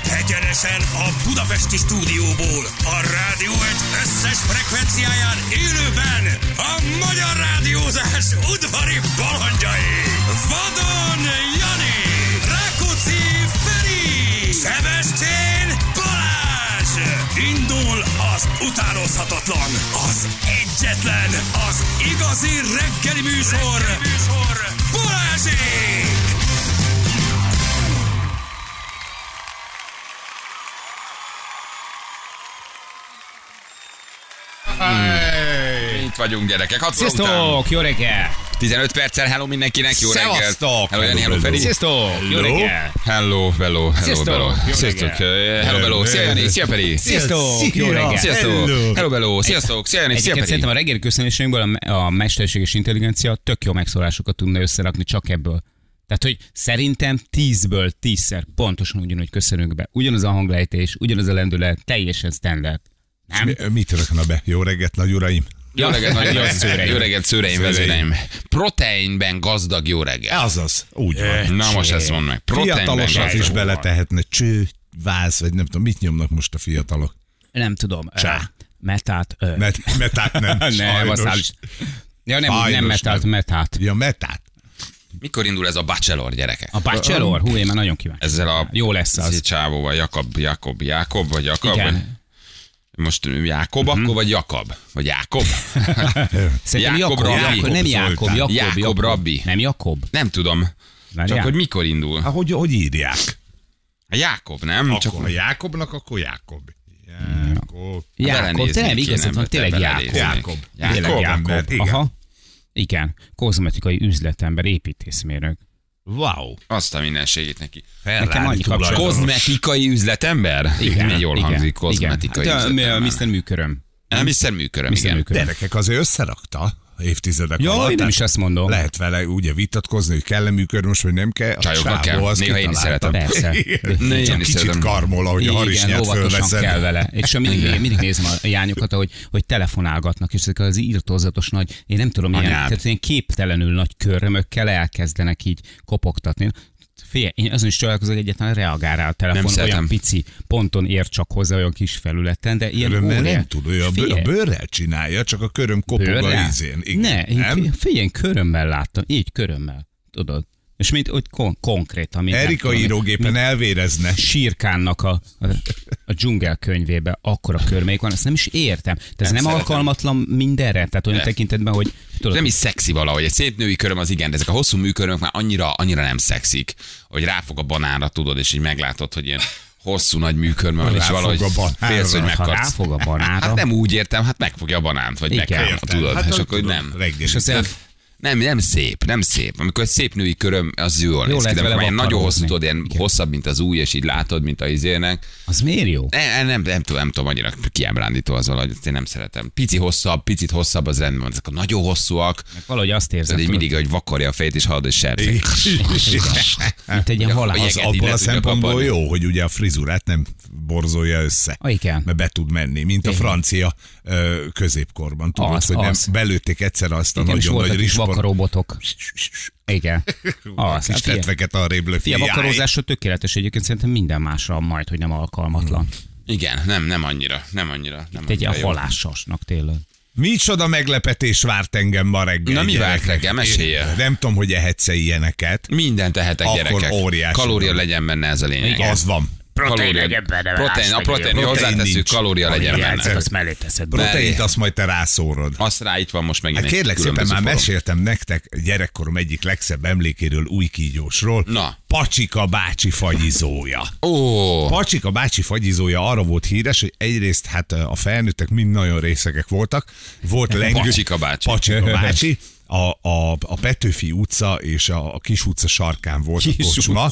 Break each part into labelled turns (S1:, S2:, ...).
S1: Egyenesen a Budapesti stúdióból, a rádió egy összes frekvenciáján élőben a magyar rádiózás udvari balandjai. Vadon Jani, Rákóczi Feri, Sebestyén Balázs. Indul az utánozhatatlan, az egyetlen, az igazi reggeli műsor, reggeli műsor. Balázsék!
S2: Itt vagyunk, gyerekek. 6 óra után.
S3: Sziasztok, jó reggel!
S2: 15 perccel, hello mindenkinek, jó reggelt.
S3: Szevasztok!
S2: Hello, Jani, hello, Feri.
S3: Sziasztok, jó reggel!
S2: Hello, hello, hello,
S3: Sziasztok!
S2: hello.
S3: Jó
S2: Sziasztok, eh, hello, hello. Szia, Jani, szia, Feri.
S3: Sziasztok, jó reggel!
S2: Sziasztok, hello, hello. Sziasztok, szia, Jani, szia,
S3: Egyébként
S2: Feri.
S3: szerintem a reggeli köszönésünkből a, a mesterséges intelligencia tök jó megszólásokat tudna összerakni csak ebből. Tehát, hogy szerintem tízből tízszer pontosan ugyanúgy köszönünk be. Ugyanaz a hanglejtés, ugyanaz a lendület, teljesen standard. Nem?
S4: Mi- Mit rakna be? Jó reggelt, nagy uraim!
S2: Jó reggelt, nagy
S3: Jó
S2: reggelt,
S3: szőreim.
S2: jó reggelt, szőreim,
S4: Szőreim.
S2: vezéreim. Proteinben gazdag jó reggel.
S4: Azaz, úgy van.
S2: Na most ezt mondd meg. Proteinben
S4: Fiatalosat is
S2: gazdag.
S4: beletehetne cső, váz, vagy nem tudom, mit nyomnak most a fiatalok?
S3: Nem tudom.
S4: Csá.
S3: Ö, Metát. ö,
S4: Met, metát nem.
S3: Nem,
S4: sajnos.
S3: azt állíts. Ja, nem, úgy, nem
S4: Sajnos
S3: metált,
S4: nem.
S3: metát.
S4: Ja, metát.
S2: Mikor indul ez a bachelor, gyerekek?
S3: A Bachelor? Hú, én már nagyon kíváncsi.
S2: Ezzel a
S3: Jó lesz az.
S2: Csávóval, Jakab, Jakob, Jakob, vagy Jakab?
S3: Igen. Mhm.
S2: Most Jákob, akkor vagy Jakab? Vagy Jákob?
S3: Szerintem
S2: Jákob
S3: Jakob, Jakob,
S2: Rabbi.
S3: nem
S4: Jakob
S3: Jakob,
S4: Zoltán.
S3: Jakob,
S2: Jákob Rabbi. Hát
S3: Nem Jakob.
S2: Nem tudom.
S3: Várjál.
S2: Csak hogy mikor indul?
S4: Há, Hogy, hogy írják?
S2: A Jákob, nem? Csak
S4: Akkor ha Jákobnak, akkor Jákob. Jákob.
S3: Jákob,
S2: belenézni
S3: te nem
S2: kéne,
S3: igazad van,
S2: ebbe
S3: tényleg
S2: belenézni.
S3: Jákob.
S4: Jákob.
S2: Jákob.
S3: Tényleg
S4: ember,
S3: Jákob.
S4: igen.
S3: Aha. Igen, kozmetikai üzletember, építészmérnök.
S4: Wow.
S2: Azt a minden segít neki.
S3: Nekem annyi kapcsolat.
S2: Kozmetikai üzletember? Igen. Milyen jól hangzik, kozmetikai
S3: igen. Hát,
S2: üzletember.
S3: ö, Mr. Műköröm.
S2: Nem, Mr. Műköröm,
S3: Mr.
S2: igen.
S3: Műköröm.
S4: Gyerekek azért összerakta évtizedek alatt.
S3: Ja, én nem
S4: Tehát
S3: is azt mondom.
S4: Lehet vele ugye vitatkozni, hogy kell-e működni most, vagy nem kell. A
S2: Csajoknak
S4: csávó
S2: kell.
S4: az
S2: Néha én is
S4: kitalálta.
S2: szeretem.
S3: Persze.
S4: Igen.
S2: Néha én
S4: Csak
S2: is
S4: kicsit
S2: szeretem.
S4: karmol, ahogy a harisnyát
S3: óvatosan kell
S4: fölveszed.
S3: vele. És mindig, én mindig nézem a jányokat, ahogy, hogy telefonálgatnak, és ezek az írtózatos nagy, én nem tudom, ilyen,
S2: Anyád.
S3: tehát ilyen képtelenül nagy körömökkel elkezdenek így kopogtatni. Figyelj, én azon is csodálkozok, hogy egyáltalán reagál rá a telefon,
S2: Nem
S3: nem
S2: szeretem.
S3: olyan pici ponton ér csak hozzá olyan kis felületen, de ilyen
S4: Körömmel
S3: óriás-
S4: nem tud, ő a, bő, a
S3: Figyelj,
S4: bőrrel csinálja, csak a köröm kopog a
S3: bőrrel?
S4: ízén.
S3: Ne,
S4: Igen,
S3: én
S4: nem?
S3: fi- figyelj, én körömmel láttam, így körömmel, tudod. És mint, hogy kon- konkrétan. mint nem
S4: Erika
S3: tudom, mint-
S4: írógépen elvérezne.
S3: sírkánnak a, a, a dzsungel könyvébe akkora körmék van, ezt nem is értem. Tehát ez nem,
S2: szeretem.
S3: alkalmatlan mindenre, tehát olyan
S2: Nem.
S3: tekintetben, hogy tudod,
S2: Nem is szexi valahogy. Egy szép női köröm az igen, de ezek a hosszú műkörömök már annyira, annyira nem szexik, hogy ráfog a banánra, tudod, és így meglátod, hogy ilyen hosszú nagy műkörme van, és
S4: Ráfog
S2: valahogy
S4: a banánra.
S2: félsz, hogy
S3: Ha
S2: megkapsz.
S3: ráfog a banánra.
S2: Hát nem úgy értem, hát megfogja a banánt, vagy
S3: Igen.
S2: megkapja,
S3: Értem.
S2: tudod. Hát, és
S4: hogy
S2: akkor hogy
S4: tudod,
S2: nem.
S4: Reggel.
S3: és az el,
S2: Nem, nem szép, nem szép. Amikor egy szép női köröm, az jól néz ki,
S3: lehet
S2: de amikor
S3: vele
S2: ilyen nagyon
S3: vakarózni.
S2: hosszú, tudod, ilyen hosszabb, mint az új, és így látod, mint a izének.
S3: az miért jó?
S2: Ne, nem, nem, tudom, nem tudom, annyira kiábrándító az valahogy, azt én nem szeretem. Pici hosszabb, picit hosszabb az rendben van. Ezek a nagyon hosszúak,
S3: Valahogy azt érzem,
S2: tehát így
S3: tudod,
S2: mindig, hogy vakarja a fejét, és hallod, hogy serfék.
S3: mint egy ilyen
S2: Ugye,
S3: halál.
S2: ugye-
S4: Az
S2: Jeget így
S4: abból
S2: le
S4: a
S2: tudja
S4: szempontból
S2: kaparni.
S4: jó, hogy ugye a frizurát nem borzolja össze.
S3: Ah, igen.
S4: Mert be tud menni, mint a francia ö, középkorban. Tudod,
S3: Az,
S4: hogy nem
S3: az.
S4: belőtték egyszer azt a
S3: Igen, és
S4: nagyon nagy
S3: voltak is
S4: rizspont.
S3: vakarobotok. Igen. Az,
S4: Kis
S3: hát figyelj.
S4: tetveket arrébb löki.
S3: Fia, vakarózásra tökéletes egyébként szerintem minden másra majd, hogy nem alkalmatlan.
S2: Igen, nem, nem annyira, nem annyira. Nem
S3: Egy
S2: annyira
S3: ilyen
S2: Hmm. jó.
S3: halásasnak tényleg.
S4: Micsoda meglepetés várt engem ma reggel.
S2: Na, mi
S4: gyerekek.
S2: várt reggel? Mesélje.
S4: Én Nem tudom, hogy ehetsz ilyeneket.
S2: Mindent tehetek
S4: Akkor
S2: gyerekek.
S4: óriási.
S2: Kalória legyen benne ez a lényeg.
S4: Igen. Az van.
S2: Kalória-
S3: legyen benne,
S2: protein,
S3: más
S2: a protein, mi
S4: legyen.
S2: hozzátesszük,
S4: Protein
S2: kalória legyen
S3: Igen,
S2: benne.
S3: hát azt mellé teszed. be.
S4: Proteint azt majd te rászórod.
S2: Azt rá itt van most megint.
S4: Hát
S2: egy
S4: kérlek szépen,
S2: különböző
S4: már
S2: forom.
S4: meséltem nektek gyerekkorom egyik legszebb emlékéről, új kígyósról.
S2: Na.
S4: Pacsika bácsi fagyizója.
S2: Ó,
S4: Pacsika bácsi fagyizója arra volt híres, hogy egyrészt hát a felnőttek mind nagyon részegek voltak. Volt lengő...
S2: Pacsika bácsi.
S4: Pacsika bácsi. A, a, a Petőfi utca és a, a Kis utca sarkán volt
S3: Kis
S4: a kocsma.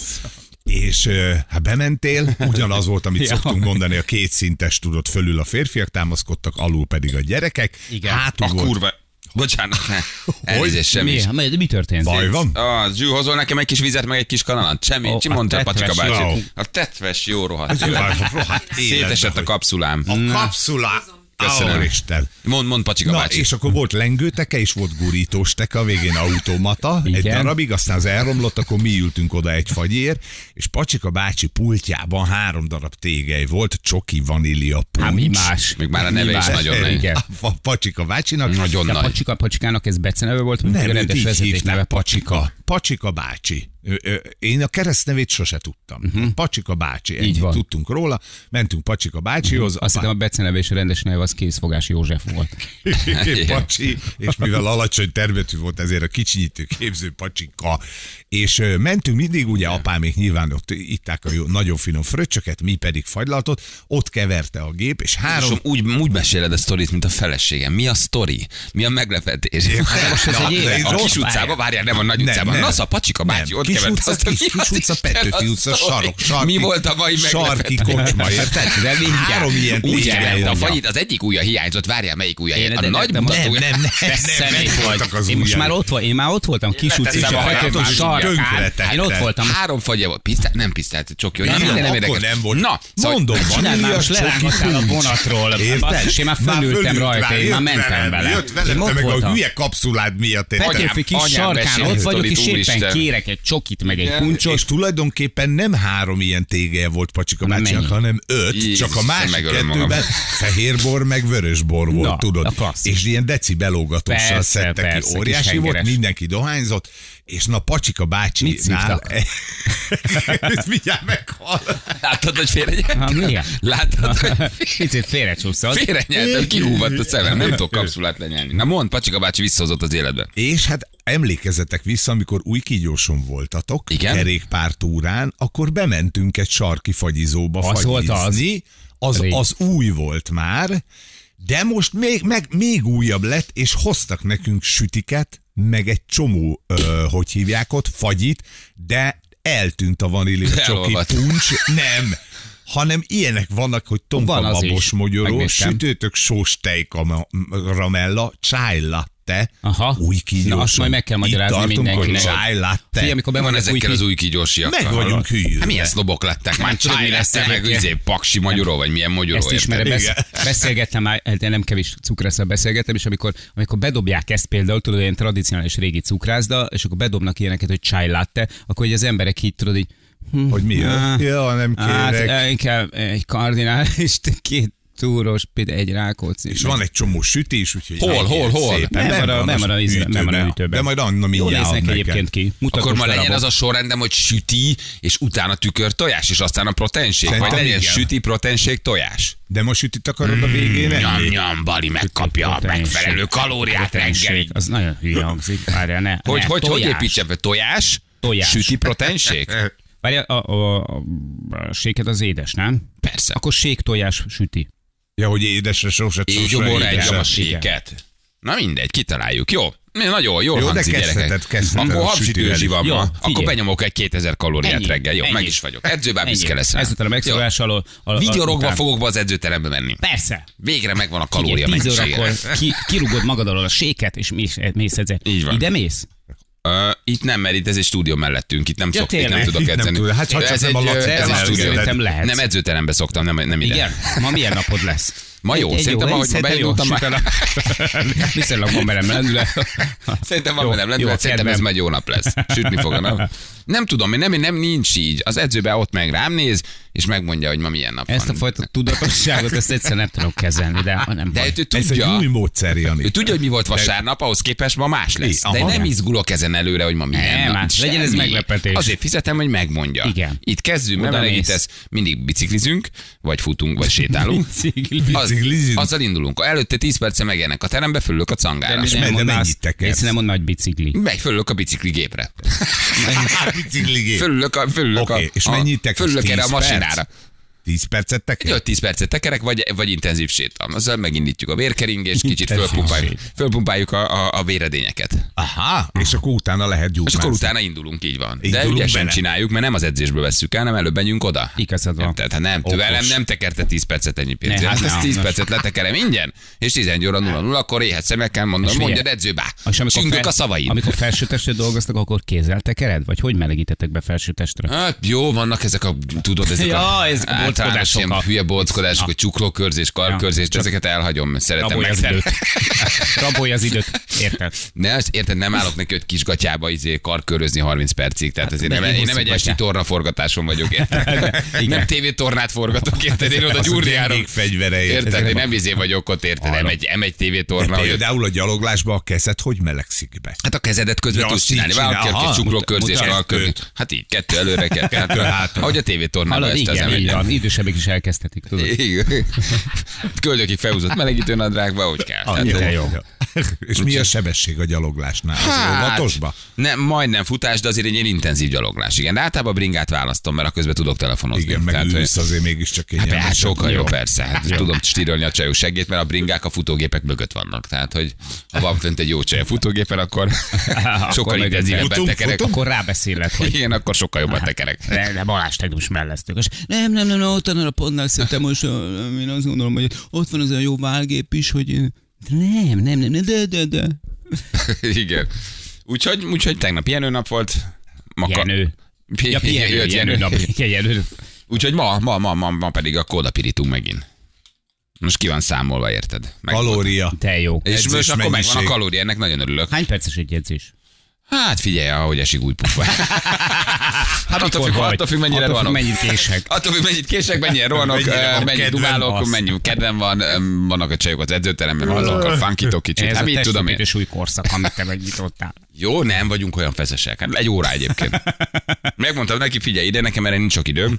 S4: És ö, hát bementél, ugyanaz volt, amit
S3: Ja.
S4: szoktunk mondani, a kétszintes tudod, fölül a férfiak támaszkodtak, alul pedig a gyerekek.
S3: Igen.
S4: Hátul
S2: a
S4: volt
S2: kurva. Bocsánat, elnézést, semmi.
S3: Mi? Hát, Mi, mi történt?
S4: Baj van?
S2: A Zsű, hozol nekem egy kis vizet, meg egy kis kanalat. Semmi,
S3: Ó,
S2: oh, mondta a
S3: a
S2: Pacsika
S3: tetves,
S2: bácsi.
S4: wow.
S2: A tetves jó rohadt.
S4: Jaj, rohadt Hát, életbe,
S2: Hát Szétesett a
S4: hogy-
S2: kapszulám.
S4: A kapszula.
S2: Köszönöm.
S4: Isten.
S2: Mond, mond Pacsika
S4: Na,
S2: bácsi.
S4: és akkor volt lengőteke, és volt gurítós teke, a végén automata, egy
S3: Igen.
S4: darabig, aztán az elromlott, akkor mi ültünk oda egy fagyért, és Pacsika bácsi pultjában három darab tégely volt, csoki, vanília, puncs.
S3: Hát mi más?
S2: Még már a
S3: Mi
S2: neve is
S3: más?
S2: nagyon nagy.
S3: Igen.
S4: A Pacsika bácsinak.
S2: Nagyon
S3: De a
S2: nagy.
S3: pacsika, pacsikának ez beceneve volt, vagy
S4: Nem,
S3: a
S4: őt
S3: rendes
S4: így
S3: vezeték neve
S4: hívták
S3: pacsika.
S4: Pacsika. Pacsika bácsi. Ö, ö, én a keresztnevét sose tudtam. Uh-huh. Pacsika bácsi, ennyit
S3: Mhm. van. Mhm.
S4: tudtunk róla. Mentünk Pacsika bácsihoz.
S3: Azt
S4: a
S3: hittem a beceneve és a rendes neve az készfogás József volt.
S4: Igen. pacsi, és mivel alacsony termetű volt, ezért a kicsinyítő képző pacsika. És ö, mentünk mindig, ugye apámék nyilván ott itták a jó, nagyon finom fröccsöket, mi pedig fagylaltot, ott keverte a gép, és három...
S2: Jézusom, úgy, úgy meséled a sztorit, mint a feleségem. Mi a sztori? Mi a meglepetés? Most
S4: ez egy élet.
S2: A kis
S4: Rossz
S2: utcában, várjál, nem a nagy utcában.
S4: nem.
S2: Na, az a pacsika bácsi,
S4: Nem,
S2: ott
S4: Kis
S2: kevert
S4: utca,
S2: azt, a-
S4: Kis-
S2: mi
S4: Kis
S2: az
S4: utca,
S2: Isten
S4: Petőfi
S2: a
S4: utca,
S2: sztori?
S4: sarok, sarki-
S2: Mi volt a mai
S4: sarki kocsma, érted?
S2: De mindjárt.
S4: Három ilyen
S2: Úgy
S4: tényleg
S2: kevert a
S4: mondja.
S2: fagyit, az egyik ujja hiányzott, várjál, melyik ujja
S3: Én
S2: hiányzott.
S3: de-
S2: A nagy
S3: de- de-
S2: mutató.
S4: Nem, nem, nem,
S3: Te
S4: nem,
S3: szemét
S4: nem
S3: vagy.
S4: voltak az
S3: Én most
S4: ujjak.
S3: már ott voltam, én már ott voltam, kis utcán,
S2: leteszem a
S3: Petőfi
S2: haját,
S3: sarkán.
S4: tönkretettem.
S3: Én ott voltam. hát,
S2: Három fagyja volt. Pisztelt, nem pisztelt, csoki. hogy
S4: Nem,
S2: minden
S4: akkor
S2: érdekes.
S4: nem volt.
S2: Na, szóval-
S4: Mondom, van.
S3: Csinálj már, most
S4: Csoki
S3: lerángotál a
S4: kulcs.
S3: vonatról.
S4: Érted?
S3: És én már
S4: Már
S3: fölültem
S4: fölült
S3: rajta,
S4: rá,
S3: én
S4: jött
S3: már mentem vele.
S4: Jött velem,
S3: Én
S4: te
S3: ott
S4: meg a
S3: voltam.
S4: hülye kapszulád miatt érted?
S3: Petőfi kis
S2: Anyám
S3: sarkán,
S2: meséli a
S3: ott vagyok,
S2: sztorit,
S3: és éppen
S2: úristen.
S3: kérek egy csokit, meg egy
S2: Igen.
S3: puncsot.
S4: És tulajdonképpen nem három ilyen tégeje volt Pacsika
S3: Hanem
S4: bácsinak,
S3: mennyi?
S4: hanem öt,
S2: Jézus,
S4: csak a másik
S2: megölöm magam.
S4: kettőben fehérbor meg vörösbor volt,
S3: Na,
S4: tudod.
S3: a klasszik.
S4: És ilyen decibelógatóssal
S3: Persze,
S4: szedte
S3: persze,
S4: ki,
S3: kis
S4: óriási volt,
S3: hengeres.
S4: mindenki dohányzott, és na Pacsika
S3: Mit
S4: bácsinál...
S3: szívtak?
S4: Ezt mindjárt meghal.
S2: Láttad, hogy
S4: Hát,
S2: félrenyeltem?
S3: Ha, milyen?
S2: Láttad, hogy
S3: Picit félrecsúszott.
S2: félrenyeltem, kihúvott a szemem, nem tudok kapszulát lenyelni. Na mondd, Pacsika bácsi visszahozott az életbe.
S4: És hát emlékezzetek vissza, amikor új kígyóson voltatok,
S2: Igen?
S4: kerékpártúrán, akkor bementünk egy sarki fagyizóba
S3: Az volt az?
S4: fagyizni. Az,
S3: Rég.
S4: az új volt már, de most még, meg, még újabb lett, és hoztak nekünk sütiket, meg egy csomó, ö, hogy hívják ott, fagyit, de eltűnt a vanília csoki
S2: Elolvadt.
S4: puncs, nem, hanem ilyenek vannak, hogy tompa
S3: Van az is.
S4: babos mogyoró,
S3: Megnéztem.
S4: sütőtök sós tejkaramella, chai latte,
S3: Aha.
S4: új kígyóson.
S3: Na, azt majd meg kell magyarázni
S4: Itt tartunk,
S3: mindenkinek.
S4: hogy chai latte.
S3: Figyelj, amikor
S2: Mi van
S3: bemennek új
S2: ezekkel az
S3: ki-
S2: új kígyósiakkal?
S4: Meg vagyunk hülyülve.
S2: Hát milyen sznobok lettek? Már
S3: Nem
S2: tudod, mi
S3: csinálj
S2: lesz
S4: hát
S3: ezt
S2: meg
S3: neki.
S2: izé, paksi magyaró, vagy milyen magyaró,
S3: Ezt ismerem,
S2: érted?
S3: besz- beszélgettem már, de nem kevés cukrászdal beszélgettem, és amikor, amikor bedobják ezt például, tudod, ilyen tradicionális régi cukrászda, és akkor bedobnak ilyeneket, hogy chai latte, akkor hogy az emberek így, tudod, így, hm,
S4: Hogy mi?
S3: Ah.
S4: Ja, nem
S3: hát
S4: kérek.
S3: eh, inkább egy kardinális, két túros, pid- egy rákóczi.
S4: és van egy csomó sütés, úgyhogy...
S2: Hol,
S4: legyen
S2: hol, hol?
S4: szépen.
S3: Nem van a-
S4: van
S3: nem
S4: az
S3: van a íz- nem van a ütőben.
S4: De majd Anna
S3: Jól
S4: mindjárt ad
S3: néznek
S4: neked.
S3: egyébként ki. Mutatós
S2: Akkor ma
S3: darabok.
S2: legyen az a sorrendem, hogy süti, és utána tükör tojás, és aztán a proteinség. Vagy
S4: Szerintem
S2: legyen
S4: igen.
S2: süti, proteinség, tojás.
S4: De most sütit akarod a
S3: Mm,
S4: végén
S2: Nyam,
S4: enni?
S2: nyam, Bali megkapja a
S3: Proteinség.
S2: megfelelő kalóriát
S3: Proteinség.
S2: reggelig.
S3: Az nagyon hülye hangzik. Várjál, ne.
S2: Hogy,
S3: ne,
S2: hogy, hogy
S3: tojás.
S2: építsem fel? Tojás?
S3: Tojás.
S2: Süti proteinség?
S3: Várjál, a, a, a, a séked az édes, nem?
S2: Persze.
S3: Akkor sék tojás süti.
S4: Ja, hogy édesre sose sose
S2: Így jobban
S4: édesre.
S2: rájtom a
S3: igen.
S2: séket. Na mindegy, kitaláljuk, jó? Mi- Nagyon jól
S4: Jó, de
S2: hangzik,
S4: kezdheted,
S2: gyerekek.
S4: kezdheted
S2: Akkor
S4: a sütővel.
S2: habsütőzsi van
S3: Jó,
S2: ma,
S3: figyelj.
S2: akkor benyomok egy 2000 kalóriát
S3: Ennyi,
S2: reggel. Jó,
S3: ennyi.
S2: meg is vagyok. Edzőben
S3: Ennyi.
S2: büszke lesz rá.
S3: Ezután a megszólás alól.
S2: Jó.
S3: al- al-
S2: Vigyorogva
S3: után-
S2: fogok be az edzőterembe menni.
S3: Persze.
S2: Végre megvan a
S3: Ugye,
S2: kalória
S3: 10
S2: mennyiségére.
S3: órakor ki, kirúgod magad alól a séket, és mész, mész ezzel.
S2: Így van.
S3: Ide mész?
S2: Ö, Itt nem, mert itt ez egy stúdió mellettünk, itt nem
S3: Ja,
S2: szok, itt nem
S3: tényleg.
S2: tudok
S4: Itt nem
S2: edzeni.
S4: tud- hát ha
S2: De
S4: csak
S2: ez
S4: nem a
S2: egy, ö,
S4: Laci
S2: ez egy
S4: elmegy.
S2: stúdió.
S3: Szerintem lehet.
S2: Nem edzőterembe szoktam, nem, nem ide.
S3: Igen. Ma milyen napod lesz?
S2: Ma jó,
S3: Egy- egy
S2: szerintem ahogy ma
S3: szerintem jó.
S2: beindultam,
S3: Süt
S2: már-
S3: el a- Viszonylag van velem lendület.
S2: Szerintem van
S3: Jó,
S2: velem
S3: jó,
S2: lendület, szerintem ez
S3: kedvem.
S2: majd jó nap lesz. Sütni fog a nap. Nem tudom, én nem, nem nincs így. Az edzőbe ott meg rám néz, és megmondja, hogy ma milyen nap
S3: Ezt a
S2: van.
S3: fajta tudatosságot, ezt egyszerűen nem tudom kezelni, de ha nem
S2: De
S3: baj.
S2: ő
S4: Ez egy
S2: tudja,
S4: új módszer, Jani.
S2: ő tudja, hogy mi volt vasárnap, ahhoz képest ma más lesz.
S4: Aha.
S2: De nem izgulok ezen előre, hogy ma milyen
S3: Nem,
S2: nap.
S3: más.
S2: Semmi.
S3: Legyen ez meglepetés.
S2: Azért fizetem, hogy megmondja.
S3: Igen.
S2: Itt kezdünk,
S3: Oda
S2: utána
S3: mész.
S2: itt ez mindig biciklizünk, vagy futunk, vagy sétálunk.
S3: Bicikli.
S2: Az,
S4: Biciklizünk.
S2: azzal indulunk. Előtte 10 perce megjelennek a terembe, fölülök a cangára.
S4: mi- menj, de
S3: mondasz-
S4: mennyit tekersz?
S3: Léci, nem mond nagy bicikli.
S2: Megy, fölülök a bicikligépre.
S4: Bicikligé.
S2: Fölülök a, fölülök
S4: Hát, Oké,
S2: a,
S4: és
S2: a-
S4: mennyit tekersz?
S2: Fölülök erre a
S4: 10 perc?
S2: masinára.
S4: Tíz percet
S2: Egy
S4: teker?
S2: 5-10 percet tekerek, vagy, vagy intenzív sétam. Azzal megindítjuk a vérkeringést, kicsit
S4: Intenzív
S2: fölpumpáljuk,
S4: sét.
S2: fölpumpáljuk a, a, a véredényeket.
S4: Aha, és akkor utána lehet
S2: És
S4: gyújtmázni.
S2: akkor utána indulunk, így van. De
S4: Indulunk
S2: ügyesen
S4: bele.
S2: csináljuk, mert nem az edzésből vesszük el, hanem előbb menjünk oda.
S3: Igazad van.
S2: Tehát hát nem,
S3: Okos.
S2: velem nem tekerte 10 percet ennyi pénzért.
S3: Ne,
S2: Hát
S3: hát
S2: ezt
S3: ne,
S2: 10
S3: ne.
S2: percet letekerem ingyen, és 11 óra 0 0 akkor éhet szemekkel mondom,
S3: És
S2: mondja
S3: figyelj,
S2: edzőbá.
S3: És amikor,
S2: Csüngök a szavaid.
S3: amikor felsőtestre dolgoztak, akkor kézzel tekered? Vagy hogy melegítettek be felsőtestre?
S2: Hát jó, Hát vannak ezek a, tudod, ezek
S3: Ja,
S2: a
S3: ezek a
S2: általános általános ilyen
S3: Bolckodások a-
S2: hülye bolckodások, a csuklókörzés, karkörzés,
S3: Ja.
S2: ezeket elhagyom, szeretem
S3: Rabolj az
S2: meg.
S3: időt. Rabolj az időt. Érted?
S2: Ne, azt érted, nem állok neki, hogy kisgatyába izé karkörözni 30 percig, tehát azért
S3: megyünk
S2: nem, én nem
S3: hosszú
S2: egy esti
S3: gatyá.
S2: torna forgatáson vagyok, érted? nem tévétornát forgatok, érted? Én oda
S4: Az a
S2: gyúrjárom.
S4: gyengék fegyvere, érted?
S2: Érted? Én nem izé vagyok ott, érted? Nem
S3: Hallom.
S2: egy, nem egy tévétorna, hogy ott-
S4: Például a gyaloglásban a kezed hogy melegszik be?
S2: Hát a kezedet közben
S4: Ja,
S2: tudsz
S4: azt így
S2: csinálni. Vállal
S4: csinál.
S2: kell kis
S4: Aha,
S2: csuklókörzés,
S4: mutat-
S2: vállal
S4: kettőt.
S2: körzés. Hát így, kettő előre, kettő hátra.
S4: hátra.
S2: Ahogy a tévétornában
S3: Hallod,
S2: ezt az
S3: igen, így
S2: ember.
S3: van. Idősebbek is elkezdhetik, tudod.
S2: Igen. Köldökig felhúzott melegítő nadrágba, úgy kell. Tehát,
S3: Annyira
S2: hogy-
S3: jó.
S4: Hát, És mi a sebesség a gyaloglásnál? Az
S2: Hát,
S4: óvatosba?
S2: Ne, majdnem futás, de azért egy ilyen intenzív gyaloglás. Igen, de általában bringát választom, mert a közben tudok telefonozni.
S4: Igen, meg
S2: hogy-
S4: ülsz azért mégiscsak
S2: Hát,
S4: kényelmesen.
S2: hát sokkal jó, persze. Hát, tudom stírolni a csajok segít, mert a bringák a futógépek mögött vannak. Tehát, hogy ha van fönt egy jó csaj a futógépen, akkor sokkal
S3: mögött
S2: intenzívebben
S4: futunk,
S2: tekerek.
S3: Akkor rábeszéled, hogy
S2: Igen, akkor sokkal jobban tekerek.
S3: de, de Balázs tegnap is melleztük. És nem, nem, nem, nem, ott van a pontnál szerintem most, ö, én azt gondolom, hogy ott van az a jó válgép is, hogy ö, nem, nem, nem, nem, de, de, de.
S2: Igen. Úgyhogy, úgyhogy tegnap jenőnap volt. Ma ka-
S3: Jenő.
S2: Pi-
S3: Ja, pihenő,
S2: jött
S3: pihenő nap. Igen, Jenő.
S2: Úgyhogy ma, ma, ma, ma, ma pedig a kódapirítunk megint. Most ki van számolva, érted? Meg
S4: Kalória.
S3: Te jó.
S2: És
S4: edzés
S2: most akkor megvan a
S4: mennyiség.
S2: kalória, ennek nagyon örülök.
S3: Hány perces egy edzés?
S2: Hát figyelj, ahogy esik új pufa. hát attól függ, attól függ, mennyire
S3: Attól függ,
S2: rohanok.
S3: mennyit kések.
S2: Attól függ, mennyit kések, mennyire rohanok,
S4: Mennyire
S2: eh,
S4: van
S2: mennyit
S4: kedvem,
S2: dumálok,
S3: basz.
S2: mennyi kedvem van, eh, vannak a csajok az edzőteremben, azok a funkitok kicsit.
S3: Ez
S2: Hát
S3: a
S2: mit tudom én.
S3: testépítés új korszak, amit te megnyitottál.
S2: Jó, nem vagyunk olyan feszesek. Hát egy órá egyébként. Megmondtam neki, figyelj ide, nekem erre nincs sok időm.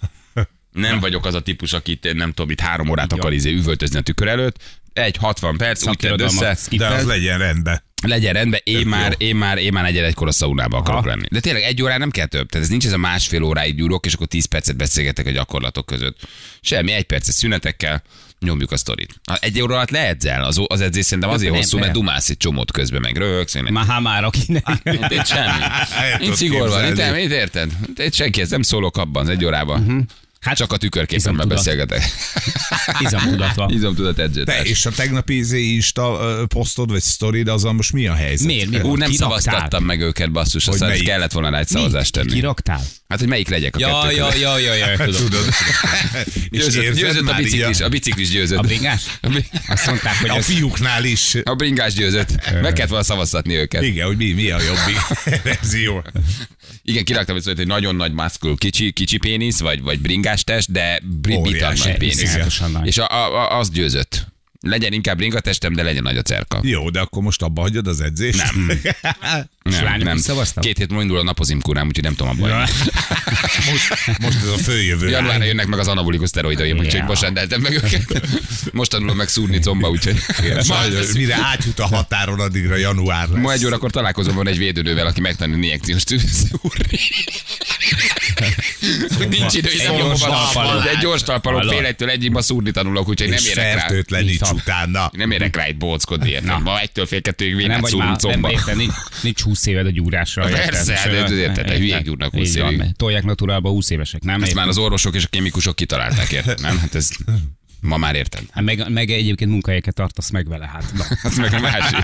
S2: Nem vagyok az a típus, akit nem tudom, itt három órát akar izé üvöltözni a tükör előtt. Egy 60 perc, úgy tedd
S3: Szakirodalmat
S2: össze,
S4: De az
S3: skippelt.
S4: legyen rendben.
S2: legyen rendben, én már, én már, én már negyed egykor a szaunába akarok
S3: Aha.
S2: lenni. De tényleg egy órá nem kell több. Tehát ez nincs ez a másfél óráig gyúrok, és akkor 10 percet beszélgetek a gyakorlatok között. Semmi, egy perces szünetekkel nyomjuk a sztorit. Ha Egy óra alatt leedzel, az, az edzés szerintem azért
S3: Nem,
S2: hosszú,
S3: nem.
S2: mert dumálsz egy csomót közben, meg röhögsz, meg
S3: Már már akinek.
S2: itt, itt semmi.
S3: Hát,
S4: El
S2: Itt
S4: tudod
S2: szigor van, itt, nem,
S4: képzelni.
S2: itt érted? Itt senki, ez nem szólok abban az egy órában. Uh-huh. Hát csak a tükörképemmel
S3: Mhm. izomtudat.
S2: beszélgetek.
S3: Izomtudat van.
S2: Izomtudat
S4: Te
S2: edzőtárs.
S4: és a tegnapi izé Insta ö, posztod, vagy sztorid, azon most mi a helyzet?
S3: Miért? Mi
S2: Ú,
S3: van?
S2: nem
S3: Kiraktál?
S2: szavaztattam meg őket, basszus,
S4: Hogy
S2: aztán
S4: melyik?
S2: kellett volna rá egy szavazást
S3: Mit?
S2: tenni.
S3: Kiraktál?
S2: Hát, hogy melyik legyek a kettő között.
S3: ja, ja, ja, tudom.
S4: Tudod. És
S2: Győzött,
S4: érzed
S2: győzött a
S4: már így
S2: biciklis, a biciklis győzött.
S3: A bringás?
S2: A bri-
S3: Azt mondták, hogy
S4: A
S3: az
S4: fiúknál is.
S2: A bringás győzött. Meg kellett volna szavaztatni őket.
S4: Igen, hogy mi, mi a jobbik verzió.
S2: Igen, kiraktam egy szót, hogy nagyon nagy maszkul, kicsi, kicsi pénisz, vagy, vagy bringás test, de brit bitan
S4: Óriási.
S2: nagy pénisz.
S3: iszonyatosan nagy.
S2: És a, a, a, az győzött. Legyen inkább bringa testem, de legyen nagy a cerka.
S4: Jó, de akkor most abba hagyod az edzést? Nem.
S3: lányok is szavaztak?
S2: Két hét múlva indul a napozimkúrám, úgyhogy nem tudom abban. Ja.
S4: Most, most ez a följövő.
S2: Januárra jönnek meg az anabolikus szteroidaim, úgyhogy
S3: Ja.
S2: most rendeltem meg őket. Most tanulom meg szúrni comba, úgyhogy...
S4: Sajnos, mire átjut a határon, addigra január lesz.
S2: Ma egy órakor találkozom van egy védőnővel, aki megtanul injekciós tűzszúrni. Nincs idő,
S4: Egy
S2: egy
S4: gyors
S2: gyors
S4: talpalom.
S2: talpalom. Egy gyors talpalom,
S3: Hallod?
S2: fél egytől egyig ma szúrni tanulok, úgyhogy nem
S4: és
S2: érek rá.
S4: fertőtleníts
S3: Így van.
S4: utána.
S2: Nem érek rá itt bóckodni, érted? Ma egytől fél kettőig
S3: nem
S2: vénát
S3: vagy már,
S2: szúrunk
S3: nem
S2: comba.
S3: érted, nincs, nincs 20 éved a gyúrásra.
S2: Persze, hát
S3: Most,
S2: ez- ez
S3: ö,
S2: érted,
S3: ö,
S2: hülyék
S3: így
S2: gyúrnak
S3: van.
S2: 20
S3: Így van,
S2: évig.
S3: mert Tolják naturálba 20 évesek, nem?
S2: Ezt
S3: Érted?
S2: már az orvosok és a kémikusok kitalálták, érted? Nem? Hát ez ma már érted.
S3: Hát meg, meg egyébként munkahelyeket tartasz meg vele, hát. Na.
S2: Hát meg a másik.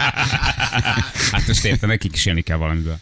S3: Hát most érted, nekik is élni kell valamiből.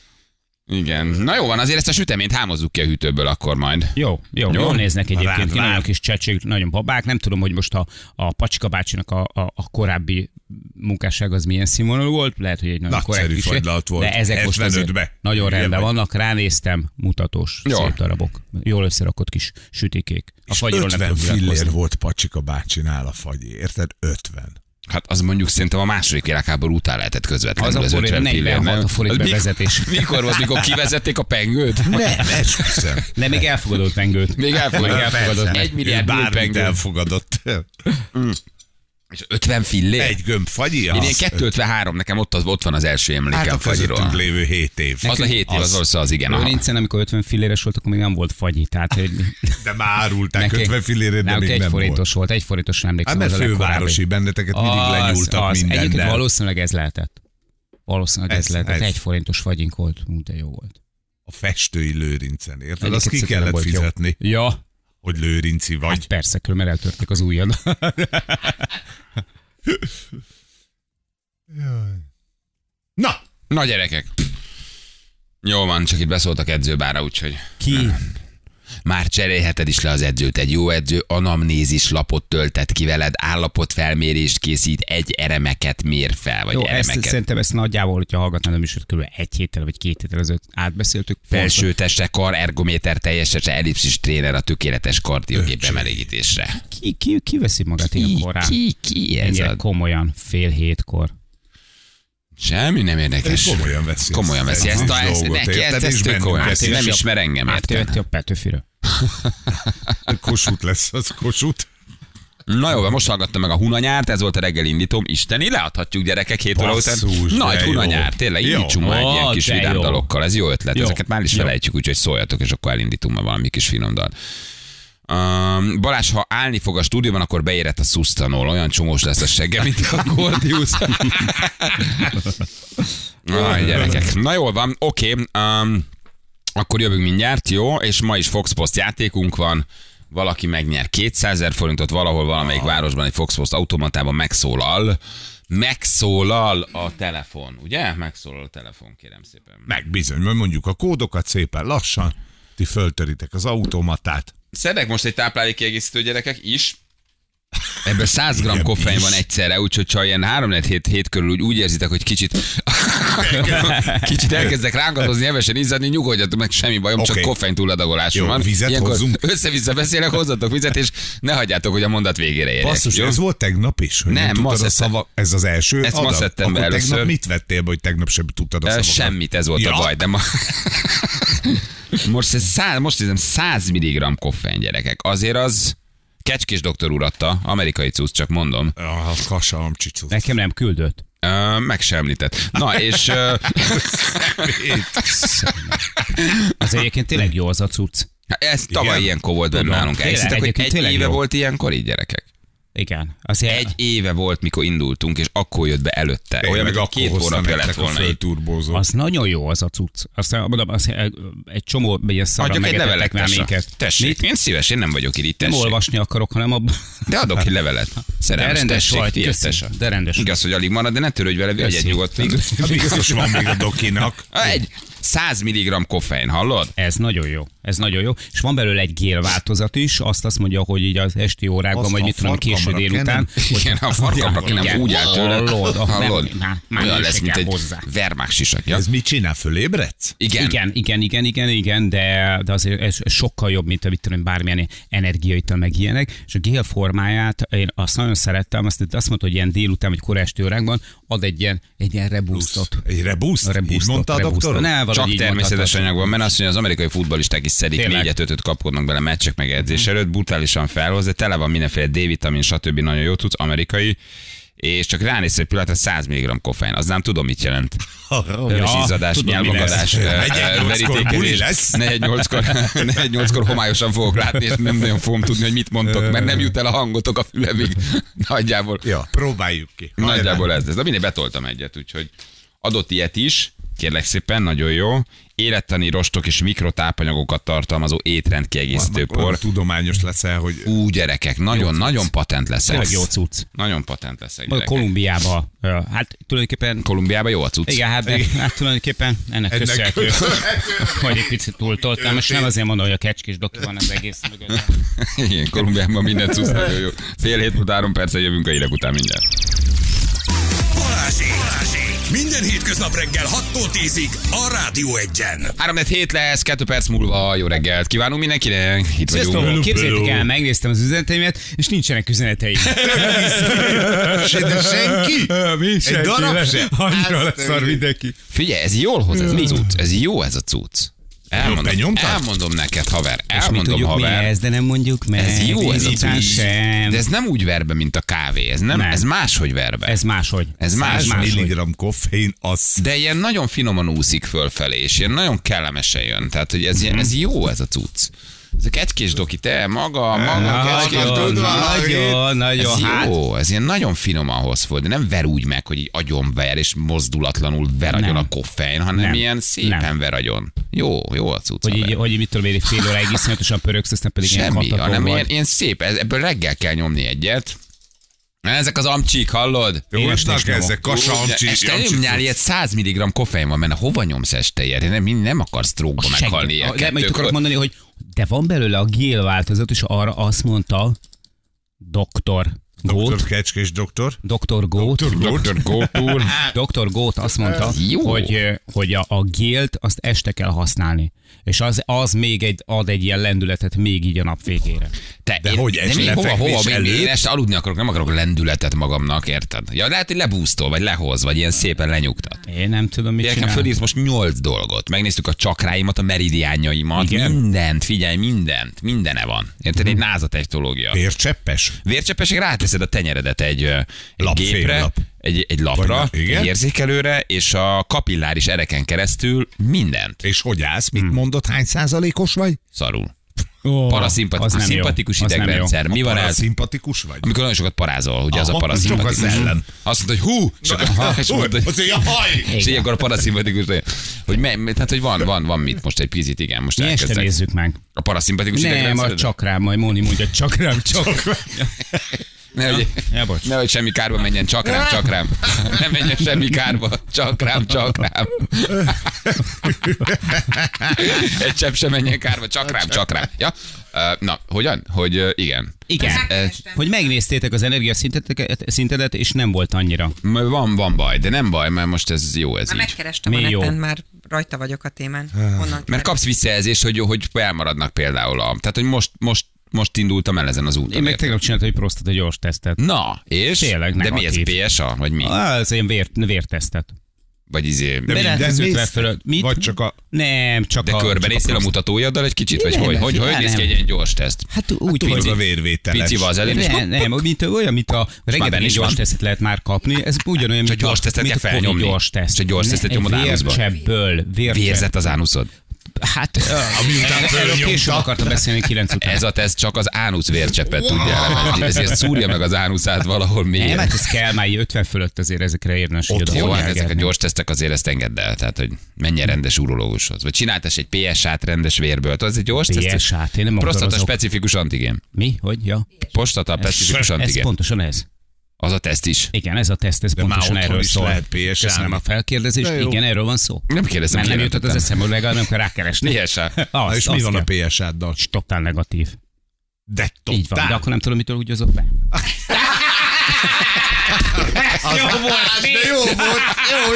S2: Igen. Na jó van, azért ezt a süteményt hámozzuk ki a hűtőből akkor majd.
S3: Jó, jó,
S2: Jó?
S3: jó. jól néznek
S4: Rád
S3: egyébként, ki
S4: vár.
S3: nagyon kis csecség, nagyon babák. Nem tudom, hogy most a, a Pacska bácsinak a, a, a korábbi munkásság az milyen színvonalú volt, lehet, hogy egy nagyon
S4: Nagyszerű
S3: korrekt kísérlet,
S4: fagylalt volt.
S3: De ezek most azért
S4: 75-be.
S3: nagyon
S4: Ugye
S3: rendben
S4: vagy?
S3: vannak, ránéztem, mutatós,
S2: Jó.
S3: jó. szép darabok. Jól összerakott kis sütikék. A
S4: És
S3: fagyiról nem
S4: 50
S3: tudok
S4: fillér
S3: nyilatkozni.
S4: volt Pacsika bácsinál a fagyi, érted? 50.
S2: Hát az mondjuk szerintem a második világháború után lehetett
S3: Az
S2: közvetlenül
S3: a
S2: az,
S3: forint
S2: 50 fillér,
S3: 46
S2: nem?
S3: a forint
S2: Az mikor-
S3: bevezetés.
S2: Mikor volt, mikor kivezették a pengőt?
S4: Nem, esküszöm.
S3: De még elfogadott pengőt.
S2: Még elfogadott.
S4: Persze.
S2: Egy milliárd
S4: Ő bármit
S2: gőpengő.
S4: elfogadott.
S2: És 50 fillér?
S4: Egy gömb fagyi?
S2: Én
S4: az-
S2: ilyen 253, nekem ott, az, ott van az első
S4: Hát
S2: emléke
S4: a
S2: a fagyiról.
S4: közöttünk lévő 7 év.
S2: Az a 7 év, az ország az igen. aha.
S3: Lőrincen, amikor 50 filléres volt, akkor még nem volt fagyi. Tehát, hogy
S4: De már árulták
S3: neki-
S4: 50 fillérért, de
S3: náluk
S4: még
S3: egy
S4: nem volt.
S3: forintos volt. egy forintos
S4: Hát
S3: emlékszem.
S4: mert
S3: az a legkorábbi.
S4: fővárosi benneteket mindig
S3: Az,
S4: lenyúltak
S3: az. Egyébként
S4: mindennel.
S3: valószínűleg ez lehetett. Valószínűleg ez,
S4: Ez-
S3: ez lehetett.
S4: ez.
S3: Ez. Egy forintos fagyink volt, ú, de jó volt.
S4: A festői lőrincen, érted?
S3: Egyébként
S4: Azt ki
S3: szerintem
S4: kellett
S3: volt jó.
S4: fizetni,
S3: Ja,
S4: hogy lőrinci vagy.
S3: hát persze, különben eltörték az ujjad. Hát-
S4: Na,
S2: Na gyerekek. Jó van, csak itt beszóltak edzőbára, úgyhogy
S3: Ki?
S2: Már cserélheted is le az edzőt. Egy jó edző anamnézis lapot töltet ki veled, állapotfelmérést készít, egy eremeket mér fel, vagy
S3: Jó, ezt,
S2: eremeket.
S3: szerintem ezt nagyjából, hogyha hallgatnád a műsort, kb. egy héttel vagy két héttel ezelőtt átbeszéltük.
S2: Felső teste, kar, ergométer, teljesese, ellipszis tréner a tökéletes kardiogép emelégítésre.
S3: Pont- Ki, ki, ki veszi magát ilyen
S2: Ki,
S3: korán?
S2: ki, ki ez
S3: Ennyire
S2: a...
S3: komolyan, fél hétkor.
S2: Semmi nem érdekes.
S4: Ő komolyan veszi
S2: Komolyan
S4: ezt.
S2: veszi ezt, a,
S4: Egy
S2: ezt,
S4: dolgot,
S2: neki
S4: érted?
S2: ezt, ezt
S4: És
S2: tök
S4: bennünk
S2: komolyan.
S4: ezt
S2: veszi. Nem
S4: is a-
S2: ismer engem, érted?
S3: Átveheti a Petőfire.
S4: Kossuth lesz az Kossuth.
S2: Na jó, most hallgattam meg a Hunanyárt, ez volt a reggel indítom. Isteni, leadhatjuk gyerekek hét óra után.
S4: Basszus, de
S2: Nagy
S4: jó.
S2: Hunanyárt, tényleg
S4: Jó.
S2: indítsunk már egy ilyen
S3: Ó,
S2: kis
S3: de
S2: vidám
S3: jó.
S2: dalokkal. Ez jó ötlet,
S3: Jó.
S2: ezeket már is
S3: Jó.
S2: felejtjük, úgyhogy szóljatok, és akkor elindítunk már valami kis finom dal. Um, Balázs, ha állni fog a stúdióban, akkor beérett a szusztanól. Olyan csomós lesz a segge, mint a Gordius. Aj, gyerekek. Na jól van, oké. Um, akkor jövünk mindjárt, jó? És ma is Fox Post játékunk van. Valaki megnyer 200 ezer forintot valahol valamelyik városban egy Fox Post automatában megszólal. Megszólal a telefon, ugye? Megszólal a telefon, kérem szépen.
S4: Meg bizony, mert mondjuk a kódokat szépen lassan, ti föltöritek az automatát.
S2: Szedek most egy táplálékkiegészítő gyerekek is. Ebből 100 g
S4: Igen,
S2: koffein
S4: is.
S2: van egyszerre, úgyhogy ha ilyen 3 4 hét, hét körül úgy, úgy érzitek, hogy kicsit, kicsit elkezdek rángadozni, hevesen izzadni, nyugodjatok meg, semmi bajom, csak
S4: Oké.
S2: koffein túladagolásom
S4: Jó,
S2: van.
S4: vizet hozzunk?
S2: Össze-vissza beszélek, hozzatok vizet, és ne hagyjátok, hogy a mondat végére érjek.
S4: Basszus,
S2: jó?
S4: ez volt tegnap is, hogy
S2: Nem,
S4: nem,
S2: ma
S4: tudtad a
S2: szedtem.
S4: szava, ez az első
S2: Ezt ma
S4: adat?
S2: szedtem be
S4: Akkor
S2: először.
S4: tegnap mit vettél be, hogy tegnap sem tudtad a
S2: Ö,
S4: szavakat?
S2: Semmit, ez volt ja. a
S4: Ja.
S2: baj, de ma... most, ez száz, most hiszem 100 mg koffein, gyerekek. Azért az... Kecskés doktor úr adta, amerikai cucc, csak mondom.
S4: A kasalom csicuc.
S3: Nekem nem küldött.
S2: Ö, meg sem említett. Na, és ö,
S3: Az egyébként tényleg jó az a cucc.
S2: ez tavaly Igen?
S4: Igen?
S2: ilyenkor volt benne
S3: Tudom.
S2: nálunk.
S3: Tényleg,
S2: Elhiszitek, hogy
S3: egyébként
S2: egy
S3: tényleg
S2: éve
S3: jó.
S2: volt ilyenkor így, gyerekek?
S3: Igen. Azért
S2: Egy éve volt, mikor indultunk, és akkor jött be előtte.
S4: Tényleg,
S2: Olyan,
S4: meg
S2: mint
S4: akkor
S2: két
S4: hoztam
S2: hónapja
S4: nektek
S2: lett
S4: a
S2: volna itt.
S4: fölturbózó.
S3: Az nagyon jó az a cucc. Aztán mondom, az egy csomó ilyen szarra
S2: Adjak egy
S3: megetettek
S2: levelet,
S3: már
S2: tassa.
S3: minket.
S2: Tessék, én szíves, én nem vagyok így,
S3: Nem
S2: tessék.
S3: olvasni akarok, hanem a...
S2: De adok egy levelet.
S3: De
S2: Szerelmes,
S3: rendes
S2: tessék,
S3: vagy,
S2: tiéd,
S3: köszi.
S2: tessa.
S3: De rendes
S2: Igaz, hogy alig marad, de ne törődj vele, egy
S3: Köszi.
S2: nyugodtan.
S4: Biztos van még a dokinak.
S2: Egy 100 mg koffein, hallod?
S3: Ez nagyon jó, ez nagyon jó. És van belőle egy gél változat is, azt azt mondja, hogy így az esti órákban,
S4: Azt
S3: vagy
S4: a
S3: mit tudom, késő
S4: farkamra
S3: délután.
S2: Igen, a farkamra
S3: Igen,
S2: nem úgy áll tőle.
S3: hallod, ah, nem,
S2: Hallod?
S3: már- már
S2: Olyan
S3: nem
S2: lesz,
S3: se
S2: mint
S3: kell
S2: egy
S3: hozzá.
S2: vermák sisak. ja?
S4: Ez mit csinál? Fölébredsz?
S2: Igen.
S3: Igen, igen, igen, igen, igen, de, de azért ez sokkal jobb, mint a mit tudom, én, bármilyen energiaital meg ilyenek. És a gél formáját én azt nagyon szerettem, azt, azt mondta, hogy ilyen délután vagy korai esti órákban ad egy ilyen, egy ilyen reboostot.
S4: Egy rebuszt? Így
S3: Reboostot,
S4: mondta a
S3: reboostot.
S4: doktor?
S3: Ne, valahogy
S2: Csak
S3: így
S2: természetes
S3: mondhatod.
S2: anyagban, mert azt mondja, az amerikai futballisták is szedik
S3: Tényleg.
S2: négyet, ötöt kapkodnak bele meccsek meg edzés előtt, brutálisan felhoz, de tele van mindenféle D-vitamin, stb. nagyon jó tudsz, amerikai, és csak ránéz egy pillanatra 100 mg koffein, az nem tudom, mit jelent. Örös
S4: Ja,
S2: izzadás,
S4: tudom, mi
S2: nyelvakadás,
S4: lesz.
S2: ö, ö,
S4: Negyed nyolckor buli
S2: verítékezés.
S4: lesz.
S2: Negyed nyolckor, negyed nyolckor homályosan fogok látni, és nem nagyon fogom tudni, hogy mit mondtok, mert nem jut el a hangotok a fülemig. Nagyjából.
S4: Ja, próbáljuk ki. Hajrá.
S2: Nagyjából ez lesz. De mindig betoltam egyet, úgyhogy adott ilyet is, kérlek szépen, nagyon jó. Élettani rostok és mikrotápanyagokat tartalmazó étrend kiegészítő
S4: Olyan
S2: por.
S4: tudományos leszel, hogy
S2: Ú, gyerekek, nagyon-nagyon patent leszek.
S3: Tényleg jó cucc.
S2: Nagyon patent leszek,
S3: Majd
S2: gyerekek.
S3: Kolumbiába, ö, hát tulajdonképpen
S2: Kolumbiában jó a cucc.
S3: Igen, hát, de, hát tulajdonképpen ennek, ennek köszönhető, hogy egy picit túltoltam, és nem azért mondom, hogy a kecskés doki van az egész mögött.
S2: Igen, Kolumbiában minden cucc nagyon jó. Fél hét után, három perccel jövünk a hírek után mindjárt.
S1: Balázsék! Balázsék! Minden hétköznap reggel 6-tól 10-ig a Rádió Egyen.
S2: 3 7 lesz, 2 perc múlva jó reggelt kívánunk mindenkinek. Itt
S3: Sziasztok,
S2: vagyunk.
S3: képzeljétek el, megnéztem az üzeneteimet, és nincsenek üzeneteim.
S4: de senki?
S3: Mi
S4: senki darab lesz. sem? Annyira
S2: Hát,
S4: Azt leszar ő-
S3: mindenki.
S2: Figyelj, ez jól hoz ez a cucc. Ez jó ez a cucc. Elmondom,
S4: benyomtad?
S2: elmondom neked, haver.
S3: És mi
S2: Elmondom,
S3: tudjuk mi
S2: haver.
S3: ez, de nem mondjuk meg.
S2: Ez jó, ez a
S3: Ezután
S2: cucc.
S3: sem.
S2: De ez nem úgy verbe, mint a kávé. Ez, nem,
S3: Nem.
S2: ez máshogy verbe.
S3: Ez máshogy.
S2: Ez más-
S4: Más
S2: máshogy.
S4: milligram koffein, az
S2: De ilyen nagyon finoman úszik fölfelé, és ilyen nagyon kellemesen jön. Tehát, hogy ez, ilyen, ez
S3: Mhm.
S2: jó ez a cucc. Ez a kecskés doki, te, maga, maga, kecskés
S3: Nagyon,
S2: doki.
S3: nagyon,
S2: Ez
S3: nagyon, hát.
S2: jó, ez ilyen nagyon finoman hoz föl, de nem ver úgy meg, hogy így agyonver, és mozdulatlanul ver agyon
S3: Nem.
S2: a koffein, hanem
S3: Nem.
S2: ilyen szépen
S3: Nem.
S2: ver agyon. Jó, jó a cucc.
S3: Hogy
S2: haver.
S3: így, hogy így mit tudom én, egy fél óráig iszonyatosan pöröksz, aztán pedig ilyen
S2: Semmi,
S3: katató
S2: hanem
S3: vagy.
S2: ilyen, ilyen szép, ez- ebből reggel kell nyomni egyet, Ezek az amcsik, hallod?
S4: Jó, esnek
S3: nyomok.
S4: ezek, kassa, amcsi,
S2: Este
S4: amcsi
S2: nyomjál
S4: cucc.
S2: ilyet 100 mg koffein van benne. Hova nyomsz este ilyet? Nem, nem akarsz trókba meghalni
S3: Segít.
S2: ilyen
S3: De majd
S2: kettőkor.
S3: akarok mondani, hogy de van belőle a gél változat, és arra azt mondta doktor
S4: Doktor
S3: Gót,
S4: Kecskés doktor.
S3: doktor Gót,
S2: Dr. Gópúr.
S3: Dr. Gót azt mondta,
S2: Jó.
S3: hogy, ö, hogy a, a gélt azt este kell használni. És az, az még egy, ad egy ilyen lendületet még így a nap végére.
S2: Te,
S4: De hogy
S2: de
S4: este
S2: mi, hova,
S4: lefekvés
S2: hova, mi, mi,
S4: előtt?
S2: én este aludni akarok, nem akarok lendületet magamnak, érted? Ja, lehet, hogy lebúztol, vagy lehoz, vagy ilyen szépen lenyugtat.
S3: Én nem tudom, mit
S2: Gyerekem,
S3: csinál.
S2: fölírt most nyolc dolgot. Megnéztük a csakráimat, a meridiánjaimat,
S3: Igen.
S2: mindent, figyelj, mindent, mindene van. Érted? Egy názatechnológia.
S4: Vércseppes?
S2: Vércsepesig ráteszed a tenyeredet egy, ö, egy
S4: Lap,
S2: gépre,
S4: féllap.
S2: egy, egy lapra,
S4: Vagy ne- igen?
S2: egy érzékelőre, és a kapilláris ereken keresztül mindent
S4: És hogy állsz? Mit mondott? Hány százalékos vagy?
S2: szarul.
S3: Ó,
S2: Paraszimpatikus,
S3: az nem jó.
S2: szimpatikus
S3: Az nem jó.
S2: idegrendszer. Mi van ez?
S4: Szimpatikus vagy?
S2: Amikor nagyon sokat parázol, ugye az a
S4: Aha,
S2: paraszimpatikus.
S4: csak az ellen.
S2: Azt mondta, hogy hú, és, akkor, és mondta, hogy,
S4: Azért, jaj!
S2: és ilyenkor a paraszimpatikus, hogy, hogy, me, tehát, hogy van, van, van mit most egy picit, igen, most
S3: Mi este
S2: elkezdek.
S3: nézzük meg.
S2: A paraszimpatikus
S3: Nem,
S2: idegrendszer.
S3: a csakrám, majd Móni mondja, csakrám, csakrám.
S2: Ne, hogy,
S3: Ja, bocs.
S2: ne, hogy semmi kárba menjen, csak rám, csak rám. Nem menjen semmi kárba, csak rám, csak rám. Egy csepp sem menjen kárba, csak rám, csak rám. Ja? Ö, Na, hogyan? Hogy ö, igen.
S3: Igen,
S2: Ez-
S3: hogy megnéztétek az energiaszintedet, szintedet, és nem volt annyira.
S2: m- Van, van baj, de nem baj, mert most ez jó ez
S5: Már
S2: így.
S5: megkerestem a
S3: Mi jó?
S5: neten, már rajta vagyok a témán. Honnan
S2: Mert kapsz visszajelzést, hogy, hogy elmaradnak például a... Tehát, hogy most, most, most indultam el ezen az úton.
S3: Én meg
S2: érted?
S3: tegnap csináltam egy prostata gyors tesztet.
S2: Na, és?
S3: Tényleg
S2: de mi ez,
S3: negatív.
S2: PSA, vagy mi?
S3: Á, Ez ilyen vér, vértesztet.
S2: Vagy izé... De,
S3: Bele-
S4: Mindent
S3: Ez ötven
S4: nézted?
S3: fölött. Mit?
S4: Vagy csak a...
S3: Nem, csak
S2: de
S3: a...
S2: körbenéztél a
S3: prostat-
S2: mutatójaddal egy kicsit, vagy
S3: Nem,
S2: hogy? Hogy, hogy
S3: nem.
S2: néz ki egy ilyen gyors teszt?
S3: Hát úgy,
S4: Tudod,
S3: hogy...
S4: a vérvételes.
S2: Picival az elején, és
S3: Nem, nem, mint, olyan, mint a
S2: benne
S3: reggeli
S2: is
S3: gyors
S2: van.
S3: tesztet lehet már kapni, ez ugyanolyan,
S2: Csak
S3: mint
S2: gyors
S3: a,
S2: tesztet
S3: mint a
S2: kell
S3: Covid
S2: felnyomni.
S3: gyors teszt.
S2: Csak gyors tesztet
S3: Ne,
S2: nyomod álmuszba.
S3: Vércsebből, vércsebből.
S2: Vérzett az ánuszod.
S3: Hát,
S4: Amiután
S3: erről
S4: fölnyomta.
S3: később akartam beszélni kilenc után.
S2: Ez a teszt csak az ánusz vércseppet tudja elemezni, ezért szúrja meg az ánuszát valahol
S3: Nem,
S2: mélyen.
S3: hát ez kell már így 50 fölött azért ezekre érdemes.
S4: Ott
S3: oda
S2: Jó, hát ezek a
S3: figyelgetni.
S2: gyors tesztek azért ezt engedd el, tehát hogy menjen rendes urológushoz. Vagy csináltas egy PSA-t rendes vérből. Tudod, ez egy gyors teszt?
S3: PSA-t, hát én nem
S2: Prostata
S3: akarozok.
S2: specifikus antigén.
S3: Mi? Hogy? Ja.
S2: Prostata specifikus
S3: ez
S2: antigén.
S3: pontosan ez.
S2: Az a teszt is.
S3: Igen, ez a teszt, ez pontosan
S4: már otthon
S3: erről
S4: is
S3: szól.
S4: Szóval lehet PSA.
S3: Köszönöm a felkérdezést, igen, erről van szó.
S2: Nem kérdeztem,
S3: Mert nem
S2: ki
S3: jutott az
S2: nem
S3: eszembe, hogy legalább nem kell rákeresni.
S2: PSA.
S3: Az,
S4: Na, és mi
S3: az
S4: van a
S3: kell.
S4: PSA-ddal?
S3: Totál negatív.
S4: De
S3: Így van, de
S4: totál.
S3: akkor nem tudom, mitől úgy azok be.
S4: Az- De jó volt, jó,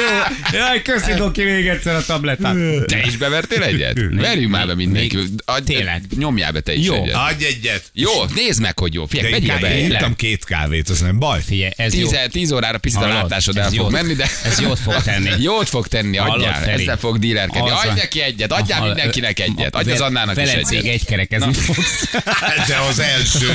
S4: jó.
S3: Jaj, köszi Doki még egyszer a tabletát.
S2: Te is bevertél egyet? Verjünk már be
S3: még-
S2: mindenki. Adj-
S3: tényleg.
S2: Nyomjál be te is
S3: Jó.
S2: egyet.
S4: Adj egyet.
S2: Jó, nézd meg, hogy jó.
S4: De
S2: Figyelj,
S4: én,
S2: vegyél
S4: ká-
S2: be
S4: én
S2: egyet.
S4: ittam két kávét, az nem baj.
S3: Figyelj, ez jó.
S2: 10, 10 órára picit a
S3: Hallod?
S2: látásod el
S3: Ez
S2: fog
S3: jót-
S2: menni, de...
S3: ez jót fog tenni.
S2: Jót fog tenni,
S3: Hallod,
S2: adjál.
S3: Feri?
S2: Ezzel fog dílerkedni.
S3: Az
S2: Adj
S3: van.
S2: neki egyet, adjál
S3: Aha,
S2: mindenkinek
S3: ö-
S2: egyet.
S3: a
S2: Adj hát az
S3: Ve-
S2: Annának is
S3: Velencég
S2: egyet.
S3: egy kerekezni fogsz.
S4: De az első.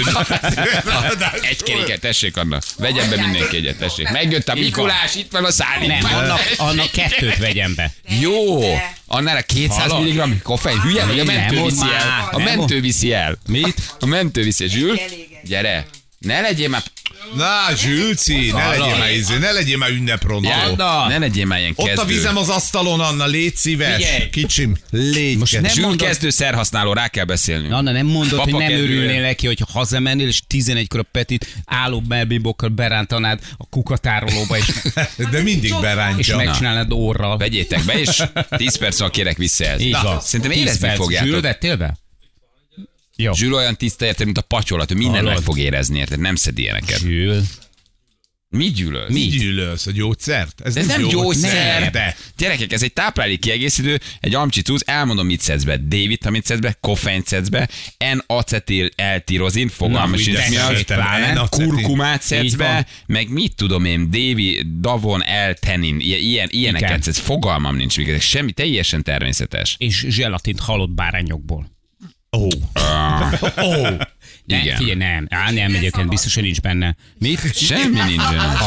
S2: Egy keréket, tessék Anna. Vegyen be mindenki egyet, tessék. Megjött a Mikulás, itt van a szállítmány.
S3: Nem, annak, annak kettőt vegyem be.
S2: Jó! Annál a 200
S3: Hallod?
S2: mg koffein hülye, vagy a
S3: Nem,
S2: mentő
S3: ott
S2: viszi
S3: már.
S2: el. A
S3: Nem,
S2: mentő viszi el.
S3: Mit?
S2: A mentő viszi el. Zsül,
S5: elég, elég.
S2: gyere. Ne legyél már...
S4: Na, Zsülci, ne legyél
S2: Hallod?
S4: már izé, ne legyél már ünneprontó.
S2: Járda! Ne legyél már ilyen
S4: Ott a
S2: kezdő.
S4: vizem az asztalon, Anna, légy szíves.
S2: Figyelj!
S4: Kicsim, légy
S3: Most
S4: kedves.
S3: nem
S2: Zsül
S3: mondod-
S2: kezdő szerhasználó, rá kell beszélnünk.
S3: Anna, nem mondod,
S2: Papa
S3: hogy nem
S2: kedvére.
S3: örülnél neki, hogy hazamennél, és 11-kor a Petit álló melbibokkal berántanád a kukatárolóba, és,
S4: De mindig
S3: és
S4: berántja.
S3: megcsinálnád orral.
S2: Vegyétek be, és 10 perc alatt kérek vissza ez.
S3: Így van.
S2: Szerintem
S3: 10
S2: érezni
S3: perc.
S2: fogjátok.
S3: Zsűl, vettél be? Jó.
S2: Zsül olyan tiszta érted, mint a pacsolat, ő minden
S3: Hallod?
S2: meg fog érezni, érted? Nem szedi ilyeneket.
S3: Zsűl.
S2: Mi gyűlölsz?
S4: Mi gyűlölsz? A gyógyszert?
S2: De ez nem gyógyszer.
S4: De.
S2: Gyerekek, ez egy táplálék kiegészítő, egy amcsi túz, elmondom, mit szedsz be. D-vitamint szedsz be, koffeint szedsz be, n-acetil eltirozin, fogalmas
S4: Na,
S2: sincs mi
S4: ugye,
S2: az,
S4: szerintem
S2: pláne,
S4: N-acetil.
S2: kurkumát szedsz
S3: Így
S2: be,
S3: van.
S2: meg mit tudom én, Dévi, davon, eltenin, ilyen, ilyen, ilyeneket
S3: Igen.
S2: szedsz, fogalmam nincs, még ezek semmi, teljesen természetes.
S3: És zselatint halott bárányokból.
S4: Ó. Ó.
S3: Ne,
S2: Igen.
S3: Figyelj, nem. Á, nem, egyébként biztos, hogy nincs benne. Mit?
S2: Semmi nincs.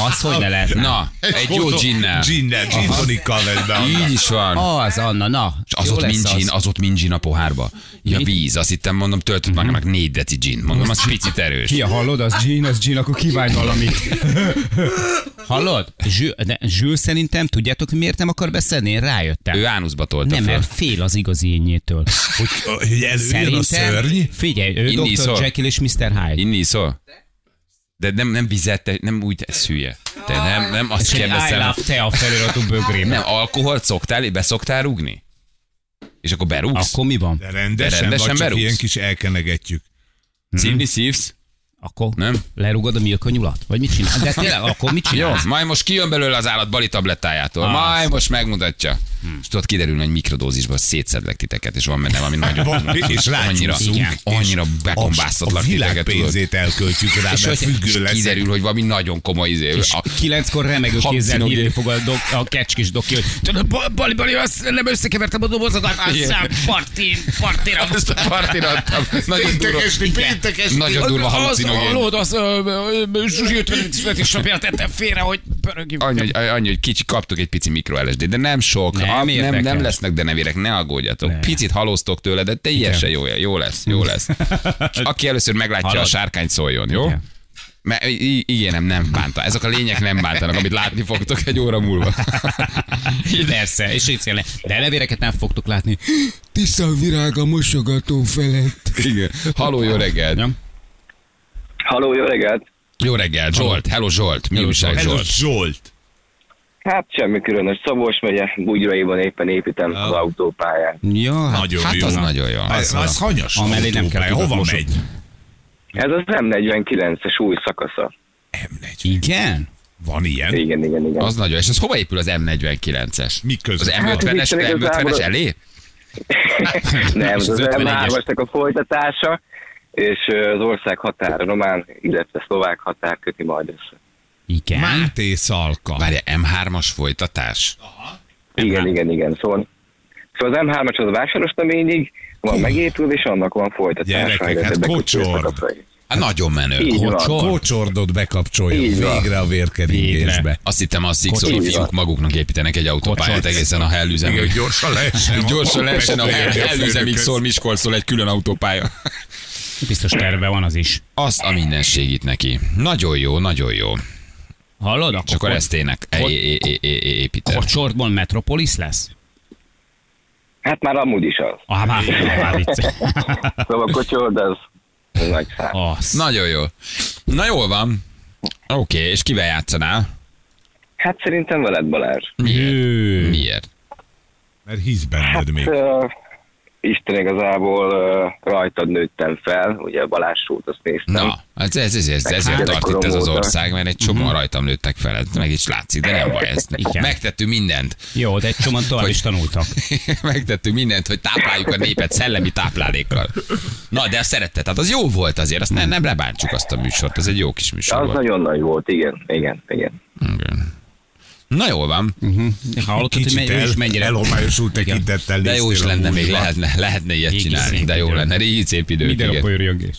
S3: Az, hogy ne lehet.
S2: Na, egy jó ginnel.
S4: Ginnel, gin tonikkal vedd be. Anna.
S2: Így is van.
S3: Az, Anna, na.
S2: És az
S3: Jó
S2: ott
S3: lesz
S2: mind gin, az ott mind gin a pohárba. Ja, víz, azt hittem, mondom, töltött
S3: Mhm.
S2: magamnak négy deci gin. Mondom, az picit erős.
S3: Ki, hallod, az Jean, az Jean, akkor kivágy valamit. hallod? Zsül, de Zsül szerintem, tudjátok, miért nem akar beszélni? Én rájöttem.
S2: Ő ánuszba tolta
S3: nem,
S2: föl.
S3: mert fél az igazi ényétől.
S4: Hogy, hogy előjön
S3: Szerintem,
S4: a szörny.
S3: figyelj, ő
S2: Inni
S3: Dr.
S2: szól.
S3: Jekyll és Mr. Hyde.
S2: Inni iszol? De nem, nem vizet, te- nem úgy, ez hülye. Te nem, nem azt
S3: És egy I
S2: kérdeztem.
S3: love te a feliratú bögrém.
S2: Nem, alkoholt szoktál, beszoktál rúgni? És akkor berúgsz?
S3: Akkor mi van?
S4: De rendesen,
S2: De
S4: de rendesen
S2: rendesen
S4: vagy csak
S2: berúgsz?
S4: ilyen kis elkenegetjük.
S2: Szívni szívsz?
S3: Akkor
S2: Nem.
S3: lerugod a milka nyulat? Vagy mit csinál? De tényleg, akkor mit
S2: Jó,
S3: csinálsz?
S2: majd most kijön belőle az állat bali tablettájától.
S3: Ah,
S2: Majd most megmutatja. És tudod, kiderül, hogy mikrodózisban szétszedlek titeket, és van benne valami nagyon...
S4: Van, és
S2: annyira,
S4: rácsúszunk,
S2: igen,
S4: és
S2: annyira
S4: a
S2: bekombáztatlak
S4: világ
S2: titeket, tudod.
S4: pénzét elköltjük rá,
S2: És
S4: mert
S2: hogy
S4: függő lesz.
S2: kiderül, hogy valami nagyon komoly izé.
S3: És
S2: A,
S3: kilenckor remegő kézzel
S2: Hallucinogén.
S3: hívni fog a, dok, a kecskis doki, hogy tudod, Ba- Bali, Bali, azt nem összekevertem a dobozokat, aztán
S2: Igen.
S3: partin, partira.
S2: azt a partin adtam. Nagyon durva. Nagyon durva
S3: Az,
S2: halucinogén.
S3: alód, az, ö, ö, ö, Zsuzsi 50. születésnapjára tettem félre, hogy pörögjünk.
S2: Annyi, hogy- annyi, hogy kicsi, kaptok egy pici mikro LSD, de nem sok,
S3: Nem
S2: nem, nem,
S3: érdekel.
S2: nem lesznek deneverek, ne aggódjatok.
S3: Ne.
S2: Ne. Picit halóztok tőle, de teljesen jó, jó lesz, jó lesz. Aki először meglátja
S3: Halad.
S2: a sárkányt szóljon, jó?
S3: Igen.
S2: Mert i- igenem, nem bánta. Ezek a lények nem bántanak, amit látni fogtok egy óra múlva.
S3: Persze, és így szélne. De levéreket nem fogtok látni.
S6: Tisza virág a mosogató felett.
S2: Igen. Haló, jó reggelt.
S3: Ja.
S7: Haló, jó reggelt!
S2: Jó reggelt, Zsolt. Hello, Zsolt. Mi újság,
S4: Hello,
S2: Zsolt?
S4: Zsolt.
S7: Hát semmi különös. Szabolcs megye, Bugyraiban éppen építem az autópályát.
S3: Ja,
S4: Nagyon
S2: Hát
S4: jó.
S2: az nagyon jó.
S4: Az, az hanyas.
S3: Amellé nem kell
S4: autópálya. Hova
S3: tudatmosó.
S4: megy?
S7: Ez az M49-es új szakasza.
S4: M4.
S3: igen?
S4: Van ilyen?
S7: Igen, igen, igen.
S2: Az nagyon. És ez hova épül az M49-es?
S4: Mi
S2: Az
S4: között?
S2: M50-es,
S7: Hát,
S2: M50-es
S7: igazából-
S2: elé?
S7: Nem,
S2: És
S7: ez az
S2: az 51-es.
S7: M3-asnak a folytatása, és ö, az ország határa, román, illetve szlovák határ köti majd össze.
S3: Igen.
S4: Máté Szalka.
S2: Várja, M3-as folytatás? Hát
S7: Igen, igen, igen. Szóval, szóval az M3-as az a vásáros növényig, van megépül, és annak van folytatása.
S4: Gyerekek,
S7: illetve
S4: hát
S7: bekötő
S4: kocsord.
S7: szakasza is.
S2: Hát nagyon menő.
S7: Így van.
S4: Kocsordot bekapcsolja
S7: Így van.
S4: végre a vérkeringésbe.
S2: Azt hittem a szikszoló
S7: Kocsort.
S2: fiúk maguknak építenek egy autópályát
S3: Kocsort.
S2: egészen a hellüzemig.
S4: Igen, gyorsan lehessen.
S2: Gyorsan lehessen a hellüzemig szól Miskolcról egy külön autópálya.
S3: Biztos terve van az is.
S2: Azt a minden segít neki. Nagyon jó, nagyon jó.
S3: Hallod? Akkor,
S2: És akkor ezt ének e-
S3: Hogy-
S2: e- e- e- e- építem.
S3: Kocsorból Metropolis lesz?
S7: Hát már amúgy is az.
S3: Ah, már, már vicc.
S7: Szóval a kocsord az nagy szám.
S3: Az.
S2: Nagyon jó. Na jól van. Oké, és kivel játszanál?
S7: Hát szerintem veled Balázs.
S2: Miért?
S3: Ő.
S2: Miért?
S4: Mert hisz benned még.
S7: Hát,
S2: Hát,
S7: Ö, Isten igazából ö, rajtad nőttem fel, ugye Balázs Sót azt néztem.
S2: Na, ez, ez, ez, ez, ezért tart itt ez az ország, mert egy csomó rajtam nőttek fel, ez meg is látszik, de nem baj, ezt
S3: Mhm. Igen.
S2: megtettünk mindent.
S3: Jó, de egy csomóan tovább
S2: Hogy-
S3: is tanultak.
S2: Megtettünk mindent, hogy tápláljuk a népet szellemi táplálékkal. Na, de azt szerette, tehát az jó volt azért, azt ne, nem lebántsuk azt a műsort, ez egy jó kis műsor
S7: Az
S2: volt.
S7: nagyon nagy volt, igen, igen, igen.
S2: Igen. Na jól van,
S3: Hallottad, hogy
S4: Kicsit
S3: mennyire
S4: el,
S3: is mennyire...
S4: elhomályosult tekintettel
S2: de jó is
S4: néztél a
S2: lenne, még
S4: múltba.
S2: lehetne, lehetne ilyet
S3: Régi
S2: csinálni,
S3: szép
S2: de jó
S3: idő.
S2: lenne, régi szép idők,
S3: Minden a
S2: igen.
S3: rögés.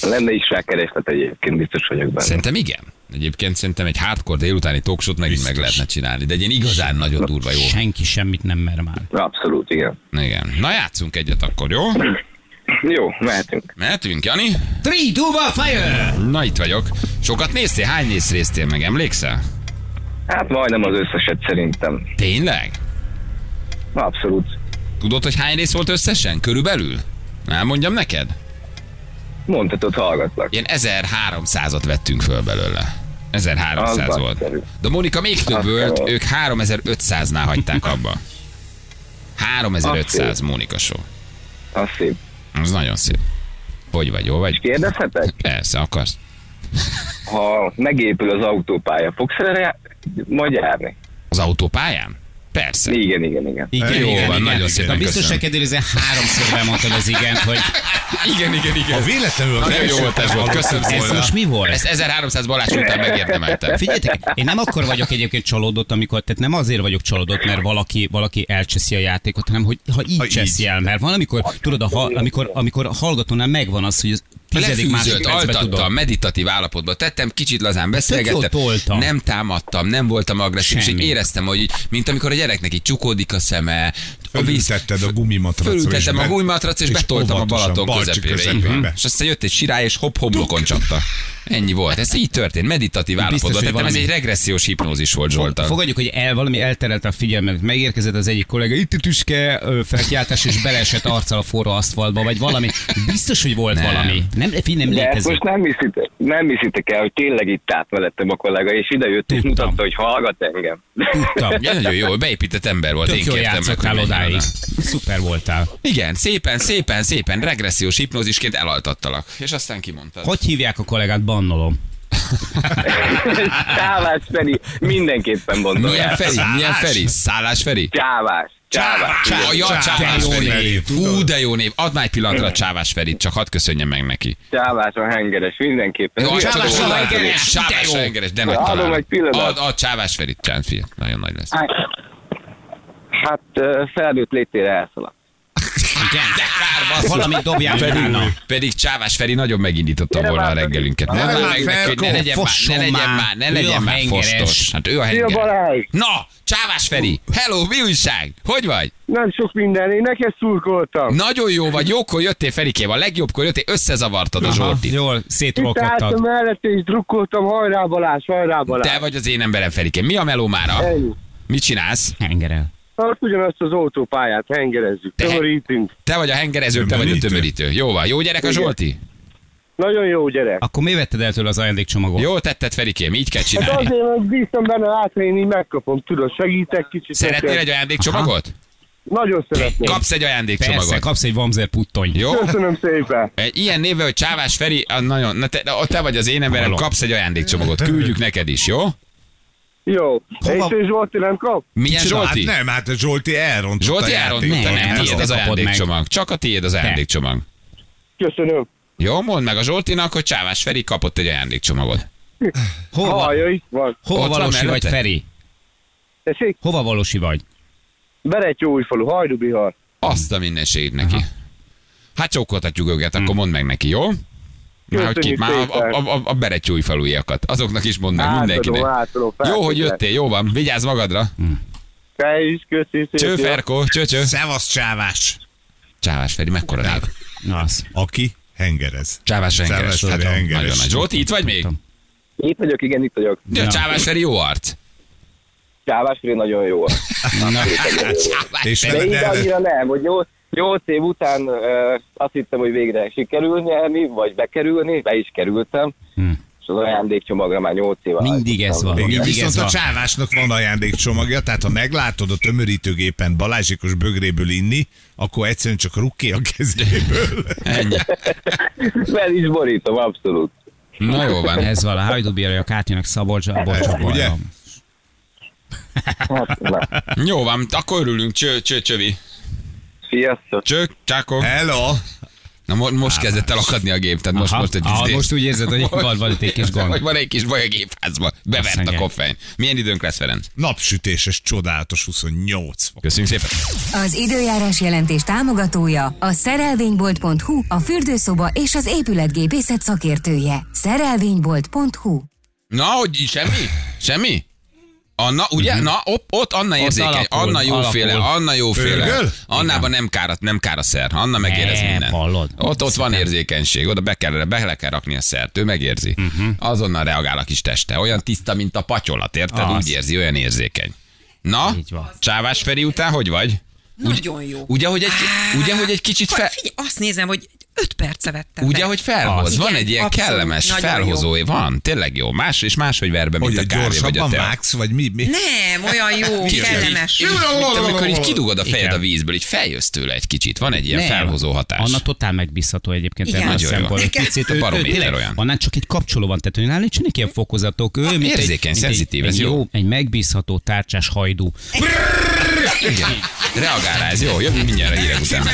S7: Lenne is rá kereslet egyébként, biztos vagyok benne.
S2: Szerintem igen. Egyébként szerintem egy hardcore délutáni talksót megint meg lehetne csinálni, de egy ilyen igazán nagyon durva jó. E,
S3: Senki semmit nem mer már.
S7: Abszolút, igen.
S2: Igen. Na játszunk egyet akkor, jó?
S7: Jó, mehetünk.
S2: Mehetünk, Jani?
S3: 3, 2, 1, fire!
S2: Na itt vagyok. Sokat néztél? Hány rész résztél meg? Emlékszel?
S7: Hát majdnem az összeset szerintem.
S2: Tényleg?
S7: Abszolút.
S2: Tudod, hogy hány rész volt összesen? Körülbelül? Nem mondjam neked?
S7: Mondhatod, hallgatlak.
S2: Ilyen 1300-at vettünk föl belőle. 1300
S7: Az
S2: volt.
S7: nagyszerű.
S2: De Monika még több volt,
S7: kell.
S2: ők 3500-nál hagyták abba. 3500
S7: Azt
S2: Monika show.
S7: Az szép.
S2: Az nagyon szép. Hogy vagy, jó vagy?
S7: Kérdezhetek?
S2: Persze, akarsz.
S7: Ha megépül az autópálya, fogsz erre já- majd járni?
S2: Az autópályán? Persze.
S7: Igen, igen, igen.
S3: Igen,
S2: Jó van, nagyon szépen
S3: Na biztos
S2: köszönöm.
S3: neked előzően háromszor elmondtad az igent, hogy
S2: Igen, igen,
S4: Ha
S2: igen.
S4: véletlenül az
S2: Nagyon jó
S4: első
S2: volt ez volt, köszönöm
S3: ez
S2: szépen.
S3: most mi volt?
S2: Ezt 1300 balás után megérdemeltem.
S3: Figyeljetek, én nem akkor vagyok egyébként csalódott, amikor, tehát nem azért vagyok csalódott, mert valaki, valaki elcseszi a játékot, hanem hogy ha így
S4: Ha
S3: ha
S4: így.
S3: cseszi el, mert van, amikor, tudod, a, ha- amikor, amikor a hallgatónál megvan az, hogy az tizedik
S2: Lefűzött,
S3: másodpercben
S2: altattam,
S3: tudom.
S2: meditatív állapotba tettem, kicsit lazán
S3: Tök
S2: beszélgettem,
S3: jót toltam.
S2: nem támadtam, nem voltam agresszív, és
S3: Semmi.
S2: így éreztem, hogy így, mint amikor a gyereknek így csukódik a szeme, a víz,
S4: Fölültetted a gumimatracra. és
S2: fölültettem a
S4: be-
S2: gumimatracra, és,
S4: és
S2: betoltam a
S4: óvatosan,
S2: Balaton
S4: balcsi
S2: közepére.
S4: közepébe.
S2: Mhm. És aztán jött egy sirály, és hopp-hopp blokoncsatta. Ennyi volt. Ez így történt. Meditatív állapotban.
S3: hogy
S2: Tehát nem, ez egy
S3: valami-
S2: regressziós hipnózis volt Zsolta.
S3: Fogadjuk, hogy el, valami elterelte a figyelmet. Megérkezett az egyik kollega, itt a tüske, ö, felkiáltás, és beleesett arccal a forró aszfaltba, vagy valami. Biztos, hogy volt
S2: Nem.
S3: nem. valami. Nem, figyelj, nem
S7: De ezt
S3: létezik.
S7: most nem hiszitek, nem hiszitek el, hogy tényleg itt állt velettem a kollega, és ide jött, és
S3: Tudtam.
S7: mutatta, hogy hallgat engem.
S3: Tudtam.
S2: Ja, nagyon jó, beépített ember volt.
S3: Tök
S2: Én
S3: jól
S2: kértem meg, hogy
S3: játszottál
S2: menjen
S3: odáig.
S2: oda.
S3: Szuper voltál.
S2: Igen, szépen, szépen, szépen regressziós hipnózisként elaltattalak. És aztán kimondtad.
S3: Hogy hívják a kollégát? Bannolom.
S7: Csávás Feri, mindenképpen mondom.
S2: Milyen
S7: el.
S2: Feri? Milyen Feri? Szállás Feri?
S7: Csávás, csávás.
S2: Csá-
S7: igen,
S2: ja, Csávás
S3: de jó
S2: Feri.
S4: név,
S2: Hú, de jó név. Add már egy pillanatra a Csávás Ferit, csak hadd köszönjem meg neki.
S7: Csávás a hengeres, mindenképpen.
S2: Jó,
S7: Hülye
S2: Csávás
S7: tudó.
S2: Ferit,
S3: Ferit, de
S2: Csávás
S3: jó.
S2: Ferit, de nagy
S7: Adom
S2: talál.
S7: egy pillanat.
S2: Add, add Csávás Ferit, Csánfi. Nagyon nagy lesz.
S7: Hát, Hát ö, felnőtt létére elszaladt.
S3: Igen.
S2: De kár, basszus.
S3: Valamit dobjál
S2: pedig,
S3: utána.
S2: pedig Csávás Feri nagyon megindította
S7: Gyere
S2: volna a
S7: már,
S2: reggelünket.
S7: Feri.
S2: Nem
S4: Gyere
S2: már
S4: már,
S2: meg neki, hogy ne legyen
S4: Ferko,
S2: már, ne
S3: fosson
S2: legyen
S3: már.
S2: már, ne
S3: Ő
S2: legyen
S3: a
S2: már
S3: hengeres.
S2: fosztos. Hát ő a
S7: Szia
S2: henger.
S7: Balázs!
S2: Na, Csávás Feri, hello, mi újság? Hogy vagy?
S7: Nem sok minden, én neked szurkoltam.
S2: Nagyon jó vagy, jókor jöttél Ferikém, a legjobbkor jöttél, összezavartad a
S3: Aha,
S2: Zsoltit.
S3: jól,
S7: Itt álltam
S3: szétrolkodtad.
S7: mellett és drukkoltam, hajrá Balázs, hajrá Balázs.
S2: Te vagy az én emberem Ferikém. Mi a meló mára?
S7: Ennyi.
S2: Mit csinálsz?
S3: Hengerel.
S7: Tart ugyanazt az autópályát, hengerezzük,
S2: Te-
S7: tömörítünk.
S2: Te vagy a hengerező, te vagy a
S4: Tömörítő.
S2: tömörítő. Jó van, jó gyerek a
S7: Igen.
S2: Zsolti?
S7: Nagyon jó gyerek.
S3: Akkor mi vetted el tőle az ajándékcsomagot?
S2: Jó tetted Ferikém, így kell
S7: Hát
S2: csinálni.
S7: azért, mert bíztam benne, látom, én így megkapom, tudod, segítek kicsit.
S2: Szeretnél
S7: neked.
S2: egy ajándékcsomagot?
S7: Nagyon szeretném.
S2: Kapsz egy
S3: Persze,
S2: ajándékcsomagot.
S3: kapsz egy vamzer puttony.
S2: Jó?
S7: Köszönöm szépen.
S2: Egy ilyen névvel, hogy Csávás Feri, az nagyon, na te, na, te vagy az én emberem,
S3: Hallom.
S2: kapsz egy ajándékcsomagot, küldjük neked is, jó?
S7: Jó.
S4: Hova?
S7: És ő Zsolti nem kap?
S2: Milyen
S4: Csinál-
S2: Zsolti?
S4: Hát nem, hát a Zsolti elrontotta
S2: Zsolti
S4: a
S2: Áron,
S4: játékot.
S2: te
S3: Nem,
S2: nem,
S3: azt
S2: tiéd
S3: te
S2: az
S3: kapod meg.
S2: ajándékcsomag. Csak a tiéd az ajándékcsomag.
S7: Köszönöm.
S2: Jó, mondd meg a Zsoltinak, hogy Csávás Feri kapott egy ajándékcsomagot.
S3: Hova,
S7: Haja itt van.
S3: hova
S2: Ott van
S3: valósi vagy,
S2: mellette?
S3: Feri?
S7: Tessék,
S3: Hova valósi vagy?
S7: Beretyó újfalu, Hajdubihar.
S2: Azt a mindenségét neki. Hát csókoltatjuk őket, akkor mondd meg neki, jó? Már, hogy ki,
S7: Köszönjük
S2: már a,
S7: szépen.
S2: a, a, a beretyúj felújakat. Azoknak is mondd meg,
S7: Átadom,
S2: mindenkinek.
S7: átadom.
S2: Jó, hogy jöttél, jó van. Vigyázz magadra.
S7: Te is, köszi szépen.
S2: Cső, Ferko, cső, cső.
S4: Szevasz Csávás!
S2: Csávás Feri, mekkora név?
S3: Na, az.
S4: Aki hengerez.
S2: Csávás Rengeres.
S4: Csávás
S2: Hát,
S4: Feri, hengeres.
S2: Nagyon nagy. Zsolti, itt vagy még?
S7: Itt vagyok, igen, itt vagyok.
S2: Ja, Csávás Feri jó arc.
S7: Csávás Feri nagyon jó.
S2: Hát
S4: És
S7: De
S4: veled
S7: így
S4: el...
S7: annyira nem, hogy nyolc, nyolc év után uh, azt hittem, hogy végre sikerül nyerni, vagy bekerülni, be is kerültem,
S3: Hm.
S7: és az ajándékcsomagra már nyolc év alatt
S3: Mindig ez
S7: jutottam.
S3: van.
S4: Igen,
S3: Mindig
S4: viszont
S3: ez
S4: a
S3: van.
S4: csávásnak van ajándékcsomagja, tehát ha meglátod a tömörítőgépen Balázsikos bögréből inni, akkor egyszerűen csak rukké a kezéből.
S2: Ennyi.
S7: Fel is borítom, abszolút.
S2: Na jó van.
S3: Ez van, a hajdubírajak átjönnek Szabolcsra, Bocsra,
S4: Ugye?
S3: Balra.
S7: Hát, na,
S2: Jó van, akkor örülünk. Cső, cső, csövi.
S7: sziasztok.
S2: Cső, csákok.
S4: Hello!
S2: Na mo- most kezdett el akadni a gép, tehát most,
S3: Hát, Aha.
S2: most egy
S3: Ah,
S2: izé-
S3: most úgy érzed, hogy van, van itt egy kis
S2: Hogy
S3: gond.
S2: van egy kis baj a gépházba.
S3: Azt
S2: Bevert a
S3: mondják.
S2: koffein. Milyen időnk lesz, Ferenc?
S4: Napsütéses, csodálatos 28 fok.
S2: Köszönjük szépen.
S8: Az időjárás jelentés támogatója a szerelvénybolt.hu, a fürdőszoba és az épületgépészet szakértője. Szerelvénybolt.hu
S2: Na, hogy így semmi? Semmi? Anna, ugye?
S3: Mhm.
S2: Na, op, ott Anna érzékeny,
S3: alakul,
S2: Anna jóféle,
S3: alakul.
S2: Anna jóféle.
S4: Örgöl?
S2: Annában nem kár, nem kár a szer, Anna megérez
S3: Nem,
S2: mindent.
S3: hallod?
S2: Ott, ott van érzékenység, oda be kell, be le kell rakni a szert, ő megérzi.
S3: Mhm.
S2: Azonnal reagál a kis teste, olyan tiszta, mint a patyolat, érted?
S3: Az.
S2: Úgy érzi, olyan érzékeny. Na,
S3: Így van.
S2: Csávás Feri után hogy vagy?
S5: Nagyon jó.
S2: Ugye, hogy egy, ugye, hogy egy kicsit
S5: Hogy
S2: fel...
S5: Figyelj, azt nézem, hogy öt perce vettem
S2: Ugye,
S5: fel.
S2: hogy felhoz.
S5: Az.
S2: van
S5: Igen,
S2: egy ilyen
S5: abszolút,
S2: kellemes
S5: nagyon jó.
S2: felhozói, van, tényleg jó. Más és máshogy ver be, mint
S4: Hogy a
S2: a kávé vagy a
S4: gyorsabban
S2: tea.
S4: vágsz, vagy mi? mi?
S5: Nem, olyan jó,
S2: Tudod,
S5: kellemes.
S2: így- így- mint Amikor így kidugod a fejed
S3: Igen.
S2: a vízből, így feljössz tőle egy kicsit. Van egy ilyen
S3: Nem.
S2: felhozó hatás.
S3: Anna totál megbízható egyébként
S5: Igen.
S3: ebben a
S5: Nagyon
S2: jó.
S3: szempontból. Egy
S2: Nekem-
S3: picit,
S2: A
S3: ő- ő
S2: barométer
S3: tényleg-
S2: olyan.
S3: Annál csak egy kapcsoló van, tehát ő nála nincsenek ilyen fokozatok. Ő, mint egy-
S2: érzékeny,
S3: mint egy-
S2: szenzitív, ez
S3: egy
S2: jó.
S3: Egy megbízható tárcsás hajdú.
S2: Igen. Reagál rá, ez jó, jövünk mindjárt a hírek után.